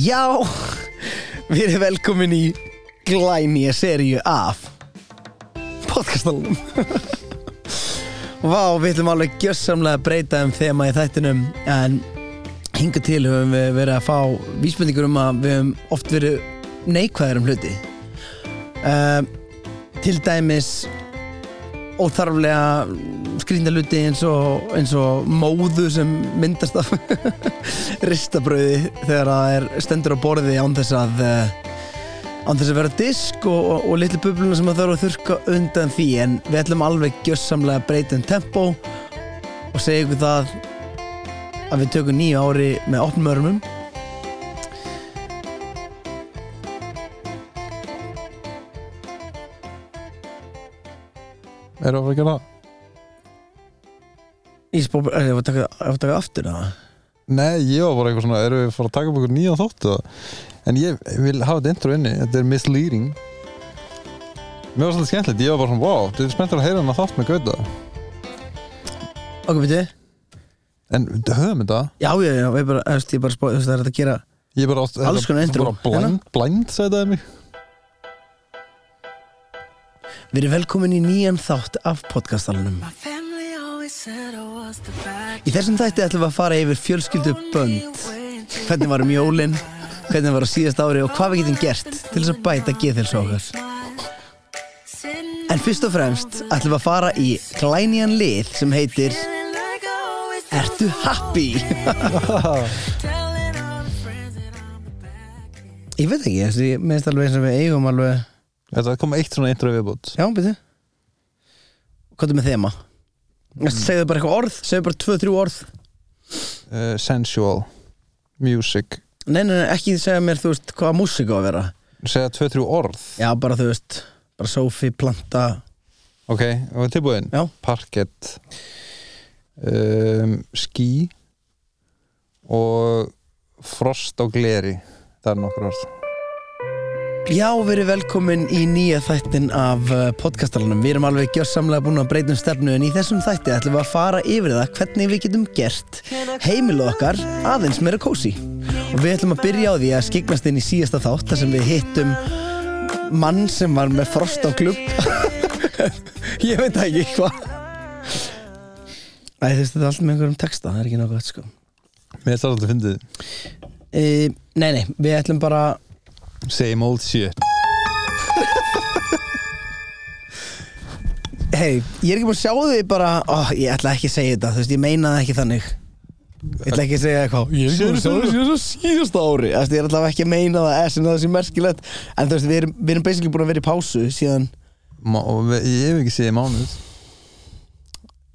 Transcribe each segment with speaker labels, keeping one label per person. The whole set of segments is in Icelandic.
Speaker 1: Já, við erum velkomin í glænýja seríu af podcastalunum Vá, við ætlum alveg gjössamlega að breyta um þema í þættinum en hinga til höfum við verið að fá vísbendingur um að við höfum oft verið neikvæðir um hluti um, Til dæmis óþarflega skrýnda hluti eins og, eins og móðu sem myndast af ristabrauði þegar það er stendur á borði án þess að eh, án þess að vera disk og, og, og litlu bubluna sem það þarf að þurka undan því en við ætlum alveg gjössamlega að breyta um tempo og segja ykkur það að við tökum nýju ári með opnum örmum
Speaker 2: Erum við að fara að gera það?
Speaker 1: Ég spór, eh, ég var að taka, ég var að taka aftur það
Speaker 2: Nei, ég var bara eitthvað svona, erum við að fara að taka upp okkur nýjan þátt eða? En ég vil hafa þetta intro inni, þetta er misleading Mér var svolítið skemmtilegt, ég var bara svona, wow, þetta er spenntur að heyra hennar þátt með gauta
Speaker 1: Ok, veitu?
Speaker 2: En höfum þetta,
Speaker 1: Já, já, já, ég bara, þú veist, ég bara spór, þú veist, það er hægt að gera
Speaker 2: ég bara átt
Speaker 1: Alls konar intro. Hérna.
Speaker 2: bara blind, blind sagði það mig
Speaker 1: Við erum velkomin í nýjan þátt af podcastalunum
Speaker 3: My family always said I was the bad
Speaker 1: Í þessum þætti ætlum við að fara yfir fjölskyldu bönd Hvernig var um jólin, hvernig var á síðast ári og hvað við getum gert til þess að bæta geðhelsu okkar En fyrst og fremst ætlum við að fara í glænían lið sem heitir Ertu happy? ég veit ekki, þessi, ég minnst alveg eins og við eigum alveg
Speaker 2: Þetta kom eitt svona intro viðbútt
Speaker 1: Já, byrju Hvað er með þema? Mm. Segðu bara eitthvað orð, segðu bara tvö, þrjú orð
Speaker 2: uh, Sensual, music
Speaker 1: Nei, nei, nei, ekki segja mér, þú veist, hvaða músík á að vera
Speaker 2: Segja tvö, þrjú orð
Speaker 1: Já, bara, þú veist, bara sófi, planta
Speaker 2: Ok, og tilbúin
Speaker 1: Já.
Speaker 2: Parkett um, Ský Og Frost á gleri Það er nokkur orð
Speaker 1: Já, verið velkomin í nýja þættin af uh, podcastalunum Við erum alveg gjörsamlega búin að breyta um stefnu En í þessum þætti ætlum við að fara yfir það Hvernig við getum gert heimilu okkar aðeins meira kósi Og við ætlum að byrja á því að skiknast inn í síðasta þátt Þar sem við hittum mann sem var með frost á klubb Ég veit það ekki hvað Æ, þú veist þetta er allt með einhverjum texta Það er ekki nokkuð sko
Speaker 2: Mér þarf alltaf að fyndið
Speaker 1: e, Nei, nei, við ætlum bara
Speaker 2: Same old shit
Speaker 1: Hei, ég er ekki búin að sjá þau bara ó, Ég ætla ekki að segja þetta, þú veist, ég meina það ekki þannig Ég ætla ekki að segja eitthvað Ég
Speaker 2: ekki búin að sjá þau
Speaker 1: síðan svo síðasta ári Þú veist, ég er allavega ekki að meina það eh, sem það sé merkilegt En þú veist, við erum, við erum basically búin að vera í pásu síðan
Speaker 2: Ma og ve- Ég hef ekki séð í mánuð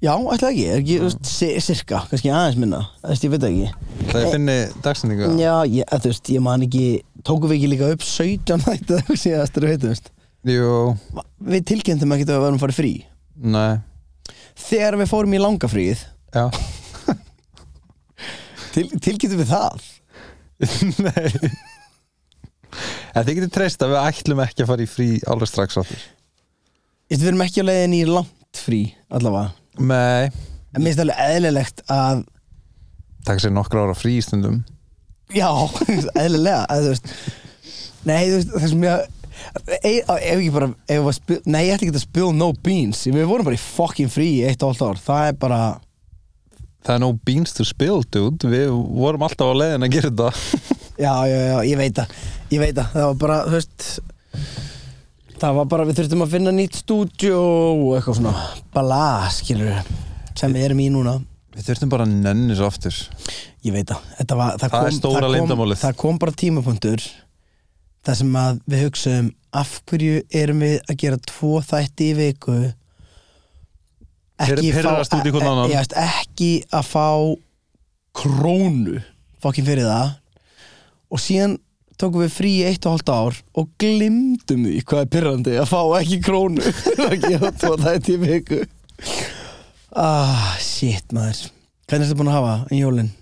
Speaker 1: Já, ætla ekki, er ekki, þú veist, si- sirka kannski aðeins minna, þú veist, ég veit það ekki
Speaker 2: Það ég finni dagsendingu
Speaker 1: Já, ég, eh, þú veist, ég man ekki Tókum við ekki líka upp 17 þætti eða eitthvað síðast, þú veit, þú veist
Speaker 2: Jú,
Speaker 1: Við tilkynntum ekki að við varum farið frí
Speaker 2: nei
Speaker 1: Þegar við fórum í langafríð
Speaker 2: Já
Speaker 1: til, Tilkynntum við það
Speaker 2: Nei En þið getur treyst að við ætlum ekki að fara í frí alveg strax áttur
Speaker 1: Þú veist, við erum ekki á leiðin í langt frí allavega
Speaker 2: Nei,
Speaker 1: En mér finnst alveg eðlilegt að
Speaker 2: taka sér nokkur ára frí í stundum
Speaker 1: Já, eðlilega að, þú veist, Nei, þú veist, það sem ég e- á- Ef ekki bara ef að spil, Nei, ég ætla ekki að spill no beans Við vorum bara í fucking frí í eitt og allt ár Það er bara
Speaker 2: Það er no beans to spill, dude Við vorum alltaf á leiðin að gera þetta
Speaker 1: Já, já, já, ég veit það Ég veit það, það var bara, þú veist Það var bara, við þurftum að finna nýtt stúdjó og eitthvað svona bala, skilur sem við erum í núna
Speaker 2: Við þurftum bara að nenni svo aftur
Speaker 1: Ég veit það, þetta var Það,
Speaker 2: Það er
Speaker 1: kom,
Speaker 2: stóra
Speaker 1: það kom,
Speaker 2: leyndarmálið.
Speaker 1: það kom bara tímapunktur Það sem að við hugsaðum Af hverju erum við að gera Tvo þætti í viku
Speaker 2: Fyrir- pirrast út í hvern
Speaker 1: e- e-
Speaker 2: annan.
Speaker 1: ég veist, Ekki að fá Krónu Fokkin fyrir það Og síðan tókum við frí í eitt og hálft ár Og glimtum því hvað er pyrrandi Að fá ekki krónu Að gera tvo þætti í viku Ah, shit maður Hvernig er þetta búin að hafa í jólinn?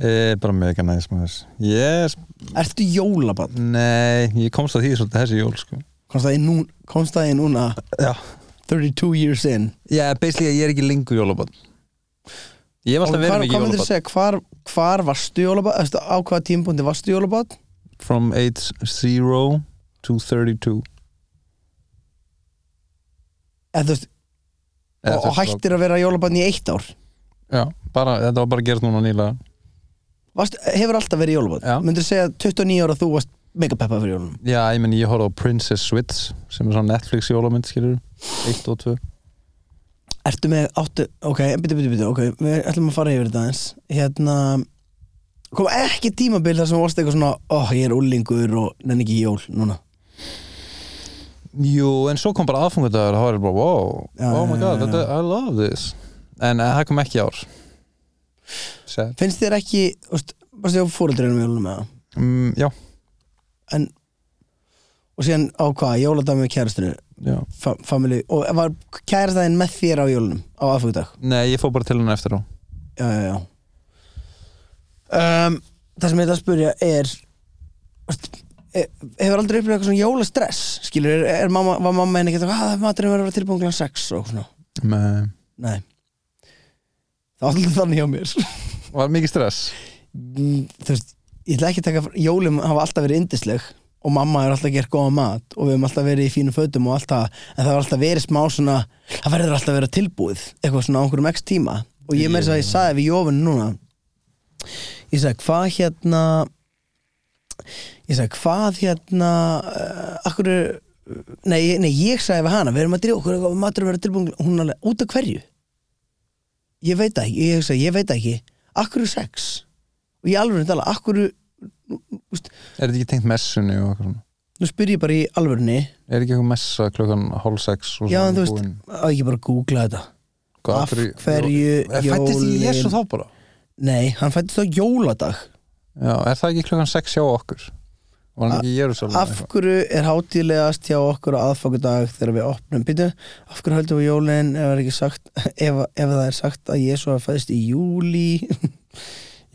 Speaker 2: e, Bara mega næs maður Ég, er-
Speaker 1: Ertu jólabann?
Speaker 2: nei, ég komst að því svolítið þessi jól sko
Speaker 1: Komst það í nú- komst það í núna
Speaker 2: Já,
Speaker 1: 32 years in
Speaker 2: já basically ég er ekki lengur jólabann
Speaker 4: Ég hef
Speaker 1: Og
Speaker 4: alltaf
Speaker 1: hvað,
Speaker 4: verið
Speaker 1: hvað
Speaker 4: mikið
Speaker 1: myndir þú
Speaker 4: jólabad
Speaker 1: segja, hvar, hvar varstu í jólabad, Þú veist, á hvaða tímpúndi varstu í jólabad?
Speaker 4: From age 0 to 32
Speaker 1: Eða, þú veist,
Speaker 2: Eða,
Speaker 1: og,
Speaker 2: þú
Speaker 1: og
Speaker 2: veist,
Speaker 1: hættir að vera jólabadn í eitt ár
Speaker 2: Já, bara, þetta var bara gert núna nýlega
Speaker 1: Varst, hefur alltaf verið
Speaker 2: Já.
Speaker 1: jólabadn myndir þú segja 29 ára þú varst mega peppa fyrir jólum
Speaker 2: Já, ég menn ég horfði á Princess Switch sem er svona Netflix jólamynd, skilur 1 og 2
Speaker 1: ertu með áttu, ok, byttu, byttu, byttu ok, við ætlum að fara yfir þetta eins hérna kom ekki tímabil þar sem þú varst eitthvað svona ó, ég er úlingur og nenni ekki í jól núna
Speaker 2: Jú, en svo kom bara aðfungadagur og það var ég bara, wow,
Speaker 1: Já,
Speaker 2: oh my
Speaker 1: já,
Speaker 2: god
Speaker 1: já,
Speaker 2: þetta, I love this En eh, það kom ekki í ár Sad
Speaker 1: finnst þér ekki, þú veist, varstu á fóreldreinu með jólum eða,
Speaker 2: mm, Já,
Speaker 1: en og síðan á hvað, jóladag með kærastinu
Speaker 2: já
Speaker 1: fa family, og var kærastæðin með þér á jólunum á aðfugdag
Speaker 2: Nei, ég fór bara til hann eftir á
Speaker 1: já, já, já um, Það sem ég ætla að spyrja er veist, e- Hefur aldrei upplifað eitthvað svona jólastress Skilur, er, er mamma, var mamma henni ekki að Það er maturinn verið að vera tilbúin glan sex og svona
Speaker 2: Nei.
Speaker 1: Nei Það var alltaf þannig hjá mér
Speaker 2: Var mikið stress
Speaker 1: Mm, Þú veist, ég ætla ekki að taka fr- Jólum hafa alltaf verið yndisleg Og mamma er alltaf gert góða mat Og við höfum alltaf verið í fínum fötum og alltaf En það var alltaf verið smá svona Það verður alltaf að vera tilbúið Eitthvað svona á einhverjum x tíma Og ég með þess að ég saði við Jófun núna Ég sagði, hvað hérna Ég sagði, hvað hérna uh, Akkur er Nei, nei, ég sagði við hana, við erum að drífa okkur og matur verður tilbúin, hún alveg, út af hverju? Ég veit það ekki, ég sagði, ég veit það ekki, akkur er sex? og ég alveg tala, akkur
Speaker 2: Er þetta ekki tengt messunni og eitthvað svona
Speaker 1: nú spyr ég bara í alvörni
Speaker 2: Er ekki eitthvað messa klukkan hálf sex og
Speaker 1: já,
Speaker 2: svona
Speaker 1: en þú veist,
Speaker 2: búin?
Speaker 1: að ég bara googla þetta
Speaker 2: Hvað,
Speaker 1: af hverju
Speaker 2: Er Fættist í Jésu
Speaker 1: jólin
Speaker 2: þá bara?
Speaker 1: nei, hann fættist á jóladag
Speaker 2: Já, er það ekki klukkan 6 hjá okkur? Var hann ekki í Jérúsalem?
Speaker 1: af hverju er hátíðlegast hjá okkur á aðfakudag þegar við opnum býtu, af hverju höldum við jólin ef, er ekki sagt, ef, ef það er sagt að Jésu hafa fæðist í júli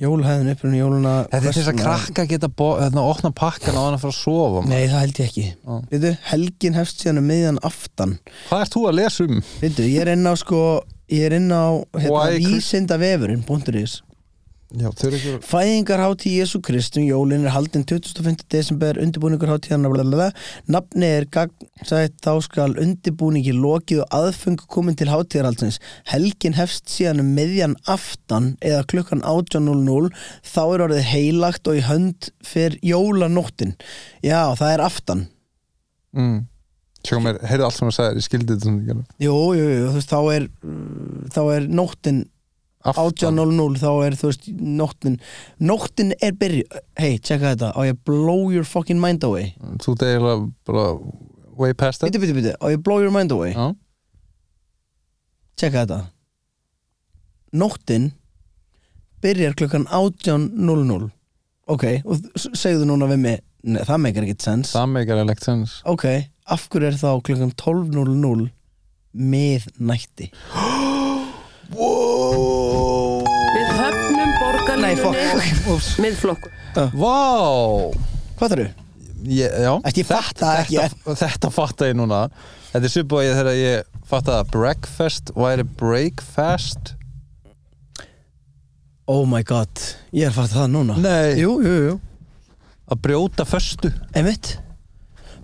Speaker 1: jólhæðin upprunni jóluna
Speaker 2: Þetta er
Speaker 1: hvers
Speaker 2: þess að
Speaker 1: vegna?
Speaker 2: krakka geta bo- hérna, opna pakkan á hann að fara að sofa maður.
Speaker 1: nei, það held ég ekki
Speaker 2: Já.
Speaker 1: Veitu, helgin hefst síðan um miðjan aftan
Speaker 2: Hvað ert þú að lesa um?
Speaker 1: Veitu, ég er inn á sko ég er inn á hérna,
Speaker 2: Why Christ-
Speaker 1: vísinda vefurinn.is
Speaker 2: Já, þau eru ekki
Speaker 1: Fæðingarhátíð Jésu Kristum, jólin er haldin 25. desember, undirbúningarhátíðan blablabla. nafni er gagnsætt þá skal undirbúningi lokið og aðfeng komin til hátíðarhaldsins helgin hefst síðan um miðjan aftan eða klukkan 18.00 þá er orðið heilagt og í hönd fyrir jólanóttin já, það er aftan
Speaker 2: mm. Sjóka mér, heyrðu allt sem að segja, ég skildi þetta svona ekki
Speaker 1: jú, jú, jú, þú veist, þá er mm, þá er nóttin
Speaker 2: Aftan.
Speaker 1: 18.00 þá er þú veist nóttin nóttin er byrju hei, tjekka þetta, á ég að blow your fucking mind away
Speaker 2: Þú ert eiginlega bara way past that
Speaker 1: bitu, bitu, bitu, á ég að blow your mind away
Speaker 2: Já.
Speaker 1: tjekka þetta nóttin byrjar klukkan 18.00 ok, og þ- s- segðu núna við mig Nei, það meikar ekkert sens
Speaker 2: Það meikar elect sense
Speaker 1: ok, af hverju er þá klukkan 12.00 miðnætti
Speaker 5: Við höfnum
Speaker 1: Nei, fuck.
Speaker 5: borgarlínunni Miðflokk
Speaker 2: Vá
Speaker 1: hvað þarf þau?
Speaker 2: ég, Já
Speaker 1: Ætti ég fatta ekki en-
Speaker 2: þetta, þetta fatta ég núna Þetta er svipað og ég þegar ég fatta að breakfast væri breakfast
Speaker 1: oh my god, ég er að fatta það núna
Speaker 2: Nei
Speaker 1: jú, jú, jú
Speaker 2: Að brjóta föstu
Speaker 1: Einmitt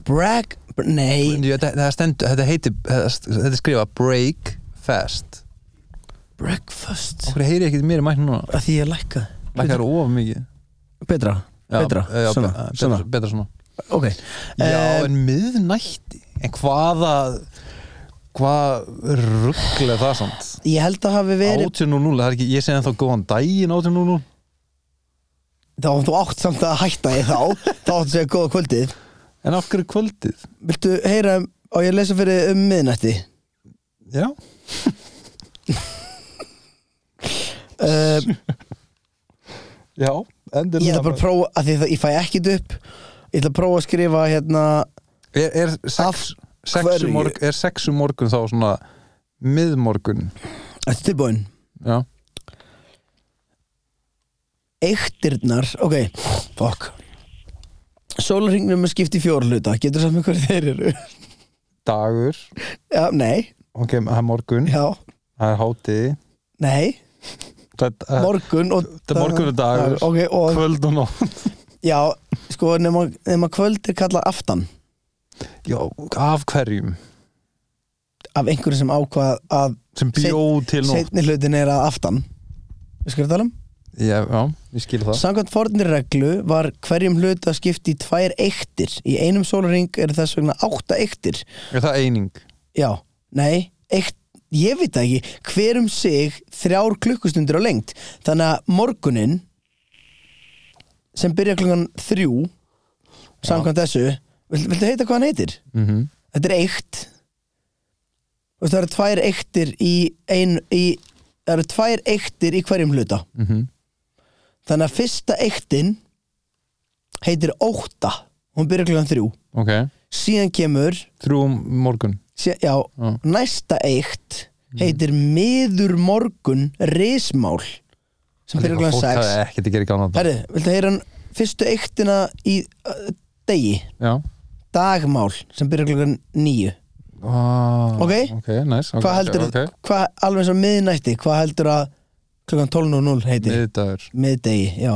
Speaker 1: Brag, br- nei
Speaker 2: Ég- Þetta, þetta stendur- þetta heitir Þetta er skrifa breakfast
Speaker 1: Breakfast
Speaker 2: Okkur heyri ekki mér í mæknum núna
Speaker 1: Að því ég lækka
Speaker 2: Lækkar of mikið
Speaker 1: Betra, betra,
Speaker 2: já,
Speaker 1: svona,
Speaker 2: be- betra,
Speaker 1: svona.
Speaker 2: betra svona
Speaker 1: Ok
Speaker 2: Já,
Speaker 1: Eh,
Speaker 2: en miðnætti En hvaða Hvað rugglega það samt
Speaker 1: Ég held að hafi verið
Speaker 2: 18.00, það er ekki, ég segi ennþá góðan daginn 18.00
Speaker 1: Þá þú átt samt að hætta ég þá Þá áttu að segja góða kvöldið
Speaker 2: En af hverju kvöldið?
Speaker 1: Viltu heyra um- á ég að lesa fyrir um miðnætti
Speaker 2: Já
Speaker 1: uh,
Speaker 2: Já, endilega
Speaker 1: Ég ætla bara að prófa að því það, ég fæ ekkit upp Ég ætla að prófa að skrifa hérna
Speaker 2: Er, er sex, sex,
Speaker 1: hverju?
Speaker 2: um morgun, er sex um morgun þá svona miðmorgun
Speaker 1: Þetta tilbúin
Speaker 2: Já
Speaker 1: Eiktirnar, ok, fokk Sólringnum er skipt í fjórluta Getur samt með hverju þeir eru
Speaker 2: Dagur,
Speaker 1: Já, nei,
Speaker 2: ok, það er morgun
Speaker 1: já,
Speaker 2: Það er háti
Speaker 1: nei
Speaker 2: Morgun
Speaker 1: morgun og
Speaker 2: Eh, er dagur,
Speaker 1: ok, og
Speaker 2: kvöld og nótt
Speaker 1: já, sko nema, nema kvöld er kallað aftan
Speaker 2: Já, af hverjum
Speaker 1: af einhverju sem ákvað að
Speaker 2: sem bjó til nótt
Speaker 1: setni hlutin er að aftan við skurðum tala um
Speaker 2: Já, já, ég skil það
Speaker 1: Samkvæmt fornir reglu var hverjum hluta skipt í tvær eiktir Í einum sólaring eru þess vegna átta eiktir
Speaker 2: Er það eining?
Speaker 1: Já, nei, eikt, ég veit það ekki Hver um sig þrjár klukkustundir á lengt Þannig að morgunin sem byrja klukkan þrjú samkvæmt þessu vil, Viltu heita hvað hann heitir?
Speaker 2: Mm -hmm.
Speaker 1: Þetta er eikt Þú veist, Það eru tvær eiktir í, ein, í Það eru tvær eiktir í hverjum hluta
Speaker 2: mhm,
Speaker 1: Þannig að fyrsta eiktin heitir ótta Hún byrja klukkan þrjú
Speaker 2: Ok,
Speaker 1: Síðan kemur
Speaker 2: þrjú um morgun
Speaker 1: sé, já,
Speaker 2: Já.
Speaker 1: næsta eitt heitir miður morgun rismál sem byrja
Speaker 2: Fólk
Speaker 1: klukkan
Speaker 2: hafði
Speaker 1: 6
Speaker 2: ekkert að gera í gamla daga.
Speaker 1: Herri, viltu heyra hann fyrstu eittina í uh, degi,
Speaker 2: Já
Speaker 1: dagmál sem byrja klukkan 9
Speaker 2: ah,
Speaker 1: Ok.
Speaker 2: Ok, nice okay,
Speaker 1: Hvað heldur,
Speaker 2: okay.
Speaker 1: hvað, alveg eins og miðnætti hvað heldur að klukkan 12.00 heitir
Speaker 2: Miðdagur
Speaker 1: miðdegi, já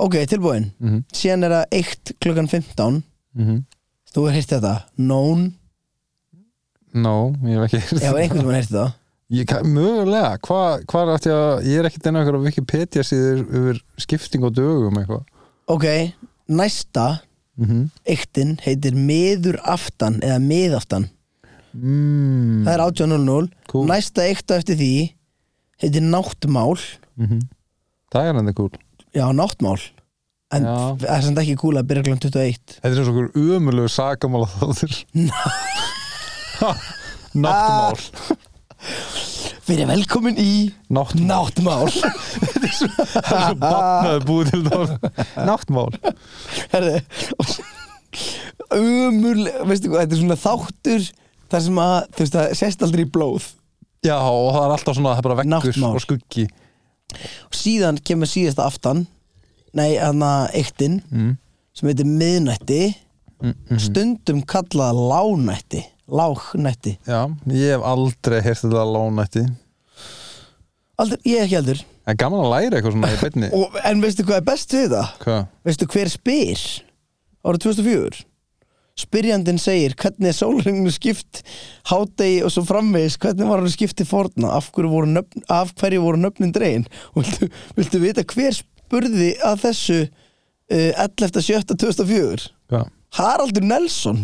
Speaker 1: ok, tilbúin
Speaker 2: Mhm.
Speaker 1: síðan er það eitt klukkan 15
Speaker 2: mm
Speaker 1: þú hefur heyrt þetta, nón
Speaker 2: No, ég hef ekki
Speaker 1: ef einhvern veginn heyrt þetta
Speaker 2: ég, ka- Mögulega, hvað hva er aftur að ég er ekkert enn okkur á Wikipedia síður yfir skipting og dögum eitthvað
Speaker 1: ok, næsta
Speaker 2: mm -hmm.
Speaker 1: eittin heitir miður aftan eða miðaftan
Speaker 2: mm,
Speaker 1: það er 18.00
Speaker 2: Cool.
Speaker 1: næsta eikta eftir því heitir náttmál
Speaker 2: Það er enda cool
Speaker 1: já náttmál en
Speaker 2: Já.
Speaker 1: það er samt ekki kúla að byrja kl. 21
Speaker 2: Þetta er eins og okkur umulegu sakamála þáttur Náttmál
Speaker 1: fyrir velkomin í
Speaker 2: Náttmál
Speaker 1: náttmál
Speaker 2: Það
Speaker 1: Ah.
Speaker 2: er svo batnaði búið til það Náttmál
Speaker 1: Herðu, og- umul veistu hvað, þetta er svona þáttur þar sem að, þú veist, það sést aldrei í blóð
Speaker 2: Já, og það er alltaf svona, það er bara vekkur
Speaker 1: Náttmál.
Speaker 2: og skuggi
Speaker 1: og síðan kemur síðasta aftan nei, hann að eittin
Speaker 2: Mm.
Speaker 1: sem heitir miðnætti stundum kallað lánætti lágnætti
Speaker 2: Já, ég hef aldrei heyrt þetta lónætti
Speaker 1: Aldrei, ég ekki heldur
Speaker 2: En gaman að læra eitthvað svona í beinni
Speaker 1: og, En veistu hvað er best við það?
Speaker 2: Hvað?
Speaker 1: Veistu hver spyr? Ára 2004 Spyrjandinn segir hvernig er sólringinu skipt hádegi og svo framvegis hvernig var hann skipt til forna af hverju voru, nöfn, af hverju voru nöfnin dregin og viltu, viltu vita hver spurði að þessu uh, 11.7.2004
Speaker 2: Hvað?
Speaker 1: Haraldur Nelson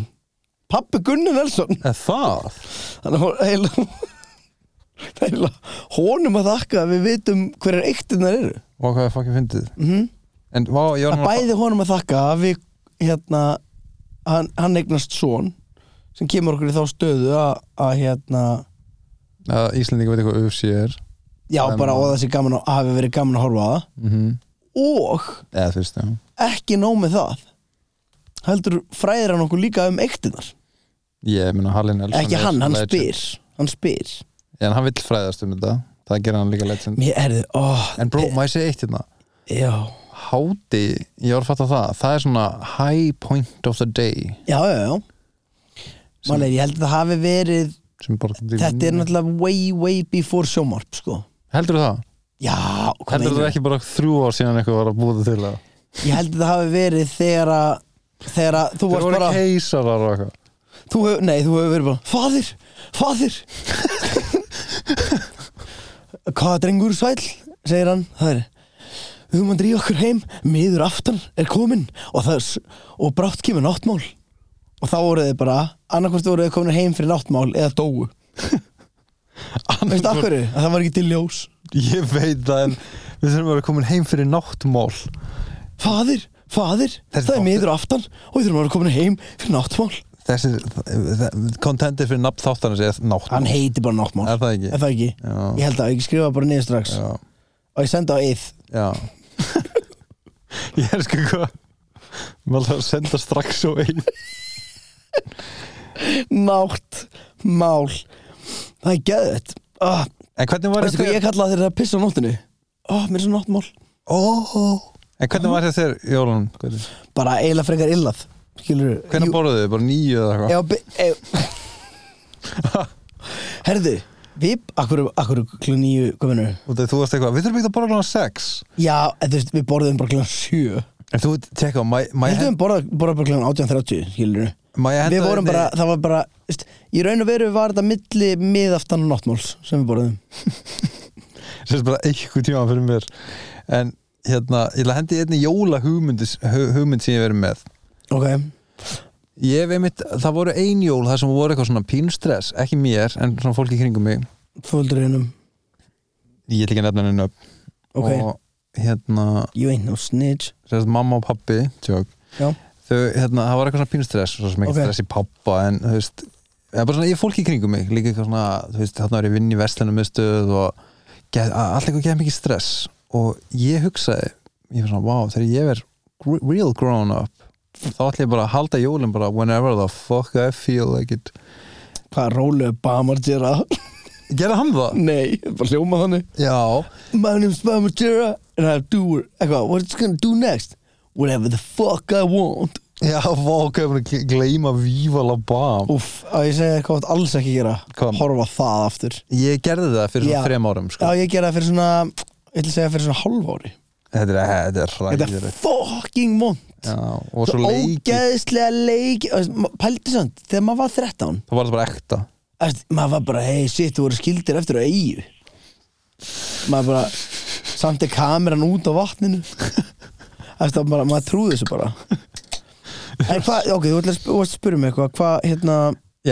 Speaker 1: Pappi Gunni Nelson
Speaker 2: Er það?
Speaker 1: Þannig að heila, heila, honum að þakka að við vitum hverjar eiktirnar eru
Speaker 2: Og hvað er fucking fyndið? Mm
Speaker 1: Mhm.
Speaker 2: En vá, ég var
Speaker 1: að
Speaker 2: núna
Speaker 1: bæði honum að þakka að við hérna, hann, hann eignast son sem kemur okkur í þá stöðu að, að hérna
Speaker 2: að Íslendinga veit eitthvað UFC er
Speaker 1: já
Speaker 2: En-
Speaker 1: bara og það sé gaman að hafi verið gaman að horfa á það
Speaker 2: mm -hmm.
Speaker 1: og
Speaker 2: Eða þú veist, já
Speaker 1: ekki nóg með það heldur fræðir hann okkur líka um eiktinar
Speaker 2: Ég meina Hallin Elson
Speaker 1: ekki hann, hann spyr hann spyr
Speaker 2: En hann vill fræðast um þetta Það gerir hann líka legend
Speaker 1: mér er þið, ó,
Speaker 2: En bró, má ég segja eitt hérna
Speaker 1: já
Speaker 2: Háti, ég var að fatta það Það er svona high point of the day
Speaker 1: já, já, já Málega, ég held að það hafi verið
Speaker 2: sem bara
Speaker 1: þetta er náttúrulega way, way before sjómarp sko.
Speaker 2: Heldur það?
Speaker 1: já, hvað
Speaker 2: Heldur það
Speaker 1: meinarðu?
Speaker 2: ekki bara þrjú ár síðan eitthvað var að búa það til það?
Speaker 1: Ég held að það hafi verið þegar að þegar að þú
Speaker 2: Þeir
Speaker 1: varst
Speaker 2: voru
Speaker 1: bara
Speaker 2: keisarar og eitthvað
Speaker 1: þú hef, Nei, þú hefur verið bara Fadir, fadir Hvað drengur svæl, segir hann Það er Við höfum að drífa okkur heim, miður aftan er komin og, það er, s- og brátt kemur náttmál og þá voru þið bara annarkvort voru þið komin heim fyrir náttmál eða dóu Veistu af hverju? Að það var ekki til ljós
Speaker 2: Ég veit það en við þurfum að vera komin heim fyrir náttmál
Speaker 1: Fadir, fadir,
Speaker 2: Þessi
Speaker 1: það er
Speaker 2: þáttur-
Speaker 1: miður aftan og við þurfum að vera komin heim fyrir náttmál
Speaker 2: Þessi, kontentið fyrir nafn þáttan er náttmál
Speaker 1: Hann heitir bara náttmál
Speaker 2: Er það ekki?
Speaker 1: Er það ekki?
Speaker 2: Já.
Speaker 1: Ég held að ég skrifa bara niður strax
Speaker 2: Já,
Speaker 1: og ég senda á eið
Speaker 2: já Ég er sko hvað Mér ætlaði að senda strax og einn
Speaker 1: Nátt, mál Það er geðvett ah,
Speaker 2: En hvernig var
Speaker 1: Veistu hvað ég kalla þeirra að pissa á nóttinu? Ó, mér er svo nátt mál
Speaker 2: oh. En hvernig var þetta þér, Jólun? Hvernig,
Speaker 1: Bara eiginlega frekar illað Skilur
Speaker 2: hvernig borðuðu þið? Bara nýju eða eitthvað?
Speaker 1: Já, be, e, Herðu, Við, akkur, akkur klun nýju, hvað minnur?
Speaker 2: Og þegar þú varst eitthvað, við þurfum ekki að borða klokkan 6
Speaker 1: Já, en þú veist, við borðum bara klun 7
Speaker 2: En þú veit, tjekka, my, my,
Speaker 1: Við höfum borðað borða bara klun 18.30, skilur
Speaker 2: my henda
Speaker 1: Við vorum
Speaker 2: þér-
Speaker 1: bara, það var bara, veist, í raun og veru var þetta milli miðaftan og náttmáls sem við borðum
Speaker 2: sérst bara eitthvað tíma fyrir mér en hérna, ég ætla að hendi einni jóla hugmynd, hugmynd sem ég hef verið með
Speaker 1: Ok,
Speaker 2: ég hef einmitt, það voru ein jól það sem voru eitthvað svona pínstress, ekki mér en svona fólki í kringum mig
Speaker 1: fóldurinnum
Speaker 2: ég ætla ekki að nefna henni upp
Speaker 1: Ok,
Speaker 2: og hérna,
Speaker 1: you ain't no snitch
Speaker 2: sérst mamma og pappi tjók,
Speaker 1: Já.
Speaker 2: þau, hérna, það var eitthvað svona pínstress svo sem ekki
Speaker 1: Ok.
Speaker 2: stress í pappa en þú veist, það er bara svona, ég fólki í kringum mig líka eitthvað svona, þú veist, þarna var ég að vinna í vestlunumistuð og get, allt eitthvað geða mikið stress og ég hugsaði, ég var svona, wow, þegar ég er gr- real grown up þá ætla ég bara að halda jólum bara whenever the fuck I feel like it
Speaker 1: Hvað rólega Bamar Jera?
Speaker 2: gerði hann það?
Speaker 1: Nei, bara hljóma þannig
Speaker 2: Já,
Speaker 1: My name's Bamar Jera and I do eitthvað, what's gonna do next? Whatever the fuck I want
Speaker 2: já, fokk, ég er búin að gleyma Viva La Bam
Speaker 1: Úff, að ég segja eitthvað þú átt alls ekki að gera
Speaker 2: Hvað?
Speaker 1: Horfa á það aftur
Speaker 2: Ég gerði það fyrir
Speaker 1: Já.
Speaker 2: svona þrem árum sko.
Speaker 1: Já, ég gera það fyrir svona, ég ætla að segja fyrir svona hálf ári
Speaker 2: Þetta er, þetta er
Speaker 1: Þetta
Speaker 2: ræðir
Speaker 1: er fucking vond
Speaker 2: Já, og svo
Speaker 1: Svo
Speaker 2: leikið
Speaker 1: ógeðslega leiki Pældi samt, þegar maður var 13
Speaker 2: Það var það bara ekta
Speaker 1: æst, Maður var bara, hei, sitt, þú voru skildir eftir á eigu Maður bara Samt er kameran út á vatninu æst, það bara, Maður trúði þessu bara En hvað, ok, þú ætlar að sp- þú varst að spyrja mig eitthvað Hvað, hérna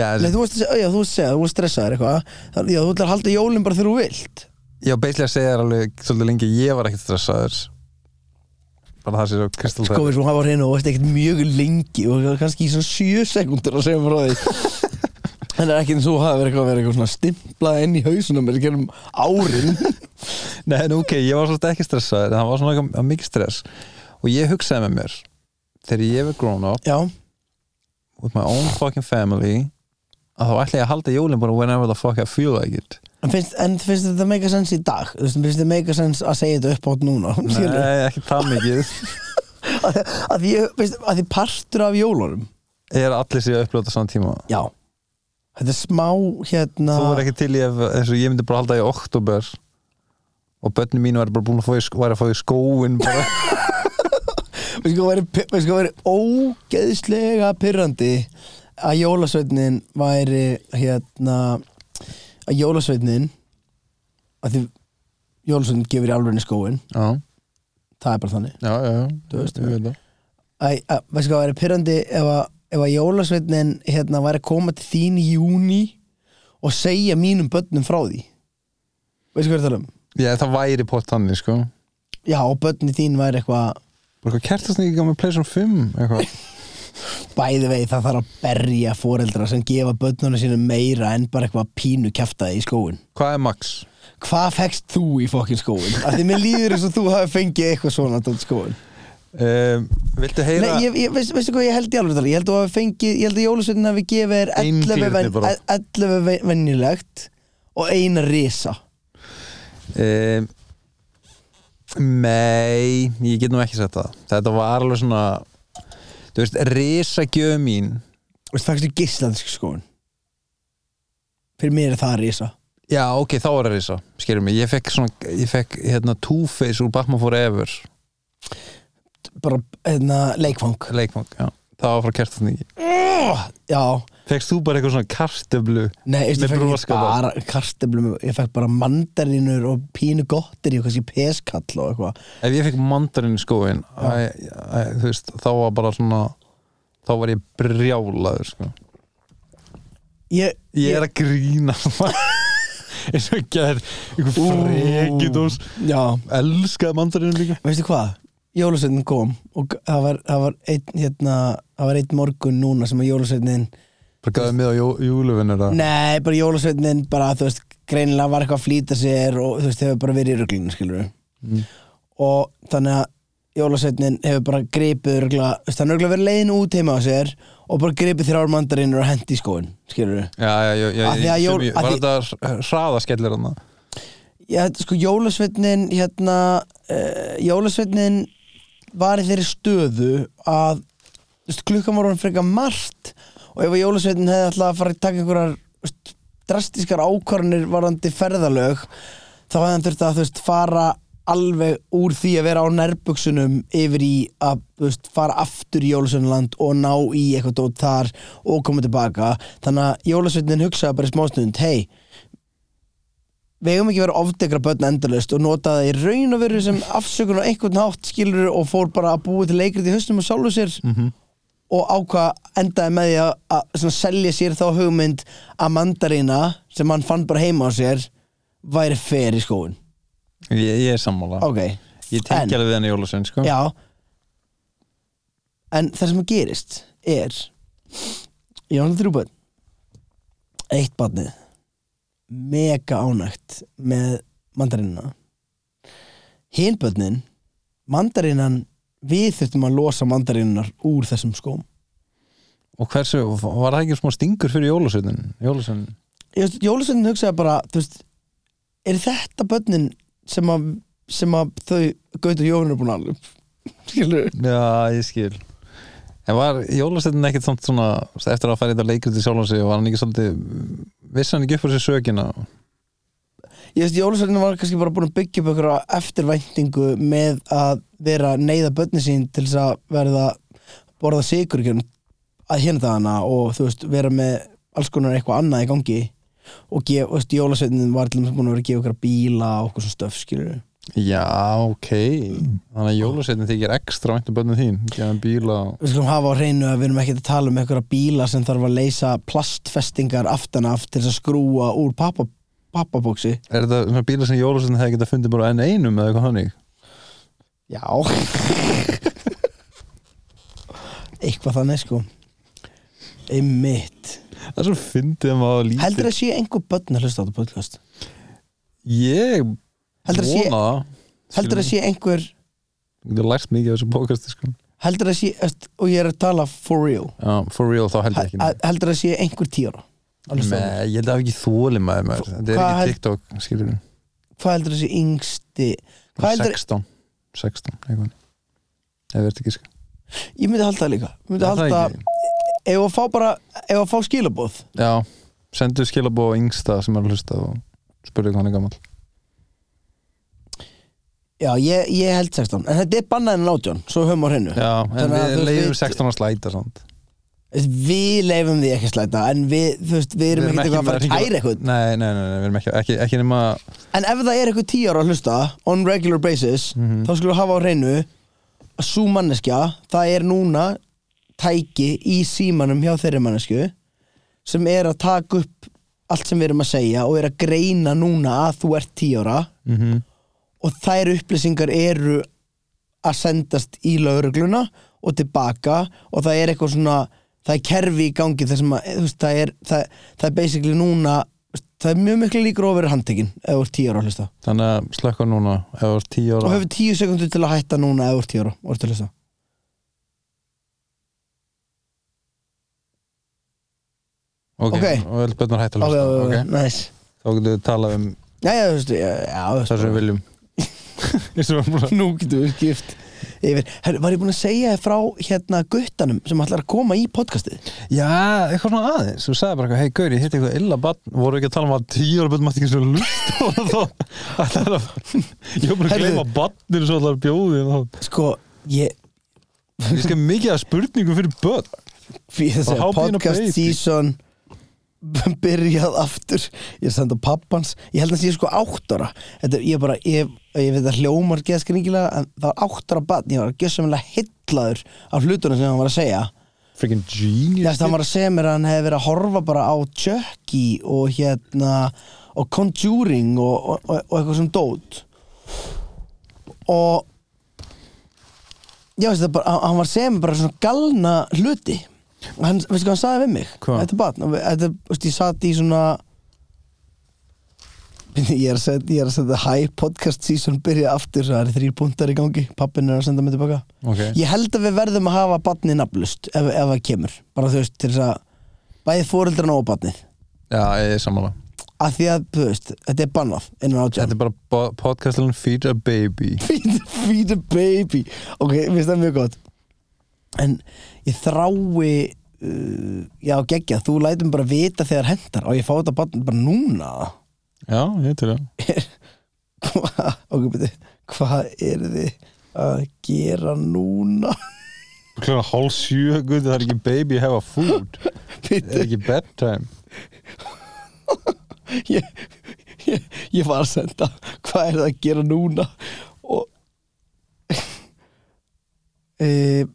Speaker 2: Já,
Speaker 1: Nei, þú varst að segja, ó, já, þú varst að segja, þú varst stressaður eitthvað Það- Já, þú ætlar að halda jólin bara þegar þú vilt
Speaker 2: ég var beislega að segja þér alveg svolítið lengi að Ég var ekkert stressaður Bara það sé svo kristal
Speaker 1: Sko,
Speaker 2: þegar
Speaker 1: við svo hafa hreinu og varst ekkert mjög lengi og kannski í svona 7 sekundur að segja frá því En það er ekki eins og þú hafi verið eitthvað að vera eitthvað svona stimplað inn í hausunum er ekki um árin
Speaker 2: Nei, en ok, ég var svolítið ekki stressaður En það var svona eitthvað mikið stress Og ég hugsaði með mér Þegar ég er grown up
Speaker 1: Já,
Speaker 2: with my own fucking family Að þá ætla ég að halda jólin bara whenever the fuck I feel like it
Speaker 1: en finnst, en finnst þetta make a sense í dag? Þú veist, finnst þetta make a sense að segja þetta upp átt núna? Skilurðu?
Speaker 2: Nei, ekki það mikið
Speaker 1: Að því, veist, að því partur af jólunum
Speaker 2: Er allir sér að uppljóta saman tíma
Speaker 1: Já Þetta er smá hérna
Speaker 2: Þú var ekki til í ef, eins og ég myndi bara halda í oktober og börnum mínu væri bara búin að fá í, sk- væri að fá í skóin bara
Speaker 1: Við sko verið, við sko verið ógeðslega pyrrandi að jólasveitnin væri hérna að jólasveitnin að því jólasveitnin gefur í alvegni skóin
Speaker 2: Já,
Speaker 1: það er bara þannig
Speaker 2: já, já, já.
Speaker 1: Þú veist,
Speaker 2: ég veit það
Speaker 1: að, að, við sko verið pyrrandi ef að, ef að jólasveitnin hérna væri að koma til þín í júni og segja mínum börnum frá því veist hvað ég er að tala um?
Speaker 2: Já, það væri pott þannig, sko Bara
Speaker 1: Já, og börnin þín væri eitthvað
Speaker 2: eitthvað kertasnýkja með Playstation 5 eitthvað
Speaker 1: bæði vegi það þarf að berja foreldra sem gefa börnunum sínu meira en bara eitthvað pínu kjaftaði í skóin
Speaker 2: Hvað er Max?
Speaker 1: hvað fekst þú í fokkin skóin? af því mér líður eins og þú hafi fengið eitthvað svona tótt skóin
Speaker 2: Um, viltu heyra?
Speaker 1: Nei, ég, ég, veistu, veistu hvað ég held í alveg tala ég held að þú hafi fengið, ég held að jólusveitin hafi gefið þér
Speaker 2: Ein
Speaker 1: 11
Speaker 2: dýrni bara.
Speaker 1: ven- 11 ve- venjulegt og eina risa
Speaker 2: Um, nei, ég get nú ekki sett það Þetta var alveg svona Þú veist, risagjöf mín
Speaker 1: veistu fækstu gislandsk skóin fyrir mér er það risa
Speaker 2: Já, ok, þá var það risa, skilur mig Ég fekk svona, ég fekk hérna Two-Face úr Batman Forever
Speaker 1: bara hérna, leikfang
Speaker 2: leikfang, já það var frá kertasningi
Speaker 1: já,
Speaker 2: fegst þú bara eitthvað svona kartöflu
Speaker 1: Nei, veistu,
Speaker 2: Með
Speaker 1: ég fekk ekki
Speaker 2: brúnaskapa.
Speaker 1: bara kartöflum ég fekk bara mandarinur og pínu gottir og kannski peskall og eitthvað
Speaker 2: ef ég fekk mandarinn í skóin æ, æ, þú veist, þá var bara svona þá var ég brjálaður sko.
Speaker 1: ég,
Speaker 2: ég er að grína eins og gerð einhver frekidós
Speaker 1: Já,
Speaker 2: elskaði mandarinn líka
Speaker 1: veistu hvað? Jólasveitin kom og það var, það var einn hérna, það var einn morgun núna sem að jólasveitin
Speaker 2: bara gæði með á jó, júluvinnur að
Speaker 1: Nei, bara jólasveitin bara, þú veist, greinilega var eitthvað að flýta sér og þú veist, hefur bara verið í ruglinu, skilur við og þannig að jólasveitin hefur bara gripið rugla, þú veist, hann rugla verið leiðin út heima á sér og bara gripið þrjár mandarinur og hendi í skóin, skilur við
Speaker 2: já, já, já, já,
Speaker 1: Af því
Speaker 2: já,
Speaker 1: að
Speaker 2: já,
Speaker 1: jól- af
Speaker 2: var
Speaker 1: því-
Speaker 2: þetta hraðaskellir hann
Speaker 1: Já, þetta- sko, jólasveitnin hérna, uh, jólasveitnin var í þeirri stöðu að þú veist, klukkan var hann frekar margt og ef að jólasveitnin hefði alltaf að fara að taka einhverjar þú veist, drastískar ákvarðanir varandi ferðalög þá hefði hann þurft að þú veist fara alveg úr því að vera á nærbuksunum yfir í að þú veist, fara aftur í Jólasveinland og ná í eitthvað dót þar og koma tilbaka þannig að Jólasveinin hugsaði bara í smástund hei, við eigum ekki verið að ofdegra börn endalaust og nota það í raun og veru sem afsökun og einhvern hátt skilur og fór bara að búi til leikrit í hausnum og sálu sér
Speaker 2: Mhm.
Speaker 1: og ákvað endaði með því að, að svona, selja sér þá hugmynd að mandarína sem hann fann bara heima á sér væri fer í skóin
Speaker 2: ég, ég er sammála
Speaker 1: ok,
Speaker 2: ég tengi
Speaker 1: En-
Speaker 2: alveg við hann í Jólasvein sko.
Speaker 1: já en það sem gerist er ég hann þrjú börn eitt barnið mega ánægt með mandarínuna hinn börnin mandarínan við þurftum að losa mandarínunar úr þessum skóm
Speaker 2: og hversu, var það ekki smá stingur fyrir Jólasveinin Jólasvein,
Speaker 1: Jólusveitin hugsaði bara þú veist, er þetta börnin sem að, sem að þau Gauti og Jóhann er búin að alveg skilur
Speaker 2: já ég skil en var Jólasveinin ekkit samt svona eftir að fara í þetta leikrið til sjálfansi var hann ekki svolítið, vissi hann ekki upp fyrir sér sökina
Speaker 1: ég veist, jólasveitin var kannski bara búin að byggja upp einhverja eftirvæntingu með að vera að neyða börni sín til þess að verða borða sigur að hérna það hana og þú veist, vera með alls konar eitthvað annað í gangi og gef, þú veist, jólasveitin var til þess búin að vera að gefa einhverja bíla og okkur svo stöf, skilur
Speaker 2: já ok þannig að Jólasveinin þykir ekstra væntum bönnum þín gefa hann bíla og
Speaker 1: við skulum hafa á hreinu að við erum ekkert að tala um einhverja bíla sem þarf að leysa plastfestingar aftan af til þess að skrúa úr pappa, pappabóksi
Speaker 2: Er þetta svona bílar sem Jólasveinn hefði getað fundið bara á enn einum eða eitthvað þannig?
Speaker 1: Já Eitthvað þannig sko Einmitt
Speaker 2: Það er svo fyndið um að maður lítið
Speaker 1: Heldur að sé einhver börn að hlusta á þetta podcast?
Speaker 2: Ég
Speaker 1: Heldur að sé,
Speaker 2: vona það
Speaker 1: heldur að sé einhver
Speaker 2: Þú lært mikið af þessu bókast sko.
Speaker 1: Heldur að sé, öst, og ég er að tala for real
Speaker 2: Já, For real þá heldur ekki
Speaker 1: Hel- Heldur að sé einhver tíara Hvað
Speaker 2: Nei, ég held að ekki þóli maður maður Þetta er
Speaker 1: Hvað held-
Speaker 2: ekki TikTok, skilur við
Speaker 1: heldur að sé yngsti Hvað heldur,
Speaker 2: 16, 16 eitthvað Ef þetta ekki sko
Speaker 1: ég myndi halda það líka Ég myndi
Speaker 2: Er það
Speaker 1: halda,
Speaker 2: ekki?
Speaker 1: ef að fá bara ef að fá skilabóð
Speaker 2: Já, sendu skilabóð á yngsta sem er að hlusta og spurðu hvað hann er gammal
Speaker 1: Já, ég, ég held 16, en þetta er bannaðin átjón, svo höfum á hreinu
Speaker 2: Já, en
Speaker 1: Þannig að
Speaker 2: við
Speaker 1: þú
Speaker 2: leiðum
Speaker 1: veit-
Speaker 2: 16 að slæta samt
Speaker 1: Við leifum því ekki að slæta en við, þú veist, við erum ekkert eitthvað að fara að
Speaker 2: hringja-
Speaker 1: kæra eitthvað
Speaker 2: Nei, nei, nei, nei, við erum ekki, ekki, ekki nema
Speaker 1: En ef það er eitthvað tíjar að hlusta on regular basis, þá skulum við hafa á hreinu að sú manneskja það er núna tæki í símanum hjá þeirri mannesku sem er að taka upp allt sem við erum að segja og er að greina núna að þú ert tíjara
Speaker 2: mm
Speaker 1: Mhm. og þær upplýsingar eru að sendast í laurugluna og tilbaka og það er eitthvað svona það er kerfi í gangi þar sem að þú veist, það, er, það, það er basically núna þú veist, það er mjög miklu líkur á að vera handtekinn ef þú ert tíu ára að hlusta
Speaker 2: Þannig að slökka núna ef þú er 10
Speaker 1: og
Speaker 2: ára
Speaker 1: hefur tíu sekundur til að hætta núna ef þú ert tíu ára og ert að hlusta
Speaker 2: Ok,
Speaker 1: ok.
Speaker 2: og öll bönnar hægt að
Speaker 1: ok,
Speaker 2: hlusta
Speaker 1: ok, ok,
Speaker 2: okay.
Speaker 1: nice
Speaker 2: Þá getum við talað um
Speaker 1: já, já, þú veist, já, já, þú veist
Speaker 2: það sem við viljum Eins og við erum búin
Speaker 1: nú getum við skipt yfir Her, var ég búin að segja þér frá hérna guttanum sem ætlar að koma í podcastið
Speaker 2: að- Já, eitthvað svona aðeins Þú sagði bara eitthvað, hei Gauri, ég hitt eitthvað illa barn Voru ekki að tala um að 10 ára bönn mátti ekki svo lust og þá ætlaði að Ég var bara að
Speaker 1: Heyrðu.
Speaker 2: gleyma barninu svo allar bjóði
Speaker 1: sko, ég
Speaker 2: Ég skal mikið að spurningum fyrir börn
Speaker 1: fyrir þess
Speaker 2: Á
Speaker 1: að
Speaker 2: hátíðina
Speaker 1: podcast
Speaker 2: breyti.
Speaker 1: season byrjað aftur ég er senda pappans, ég held að það sé sko áttara þetta er, ég er bara, ég, ég veit að hljómar geðskringilega, en það var áttara barn, ég var gjössamlega hillaður af hlutunum sem hann var að segja
Speaker 2: Freaking genius
Speaker 1: Næst, hann var að segja mér að hann hefði verið að horfa bara á Chucky og hérna og Conjuring og, og, og, og eitthvað sem dót og já veist það bara, hann- hann var að segja mér bara svona galna hluti Og hann, veistu hvað hann sagði við mig
Speaker 2: Hvað?
Speaker 1: þetta batn, þetta, veist, ég sat í svona ég er að segja, ég er að segja hæ podcast season byrja aftur það eru þrýr púntar í gangi, pappin er að senda mig tilbaka
Speaker 2: Ok.
Speaker 1: Ég held að við verðum að hafa batnið nafnlust ef, ef það kemur, bara þú veist til þess að bæði fóreldrana og batnið
Speaker 2: Já, ég er sammála
Speaker 1: af því að, þú veist, þetta er bannað innan
Speaker 2: Þetta
Speaker 1: átján
Speaker 2: er bara bo- podcastlun Feed a Baby
Speaker 1: feed, feed a baby ok, mér finnst það mjög gott en ég þrái uh, já, geggja, þú lætum bara vita þegar hendar og ég fá þetta barn bara núna
Speaker 4: Já, ég er til það
Speaker 1: Hva- ok, beti, hvað er þið að gera núna
Speaker 4: Klokkan hálf sjö, guð, það er ekki baby have a food Það er
Speaker 1: Bíddu,
Speaker 4: ekki bedtime
Speaker 1: ég, ég, ég var að senda hvað er það að gera núna og e,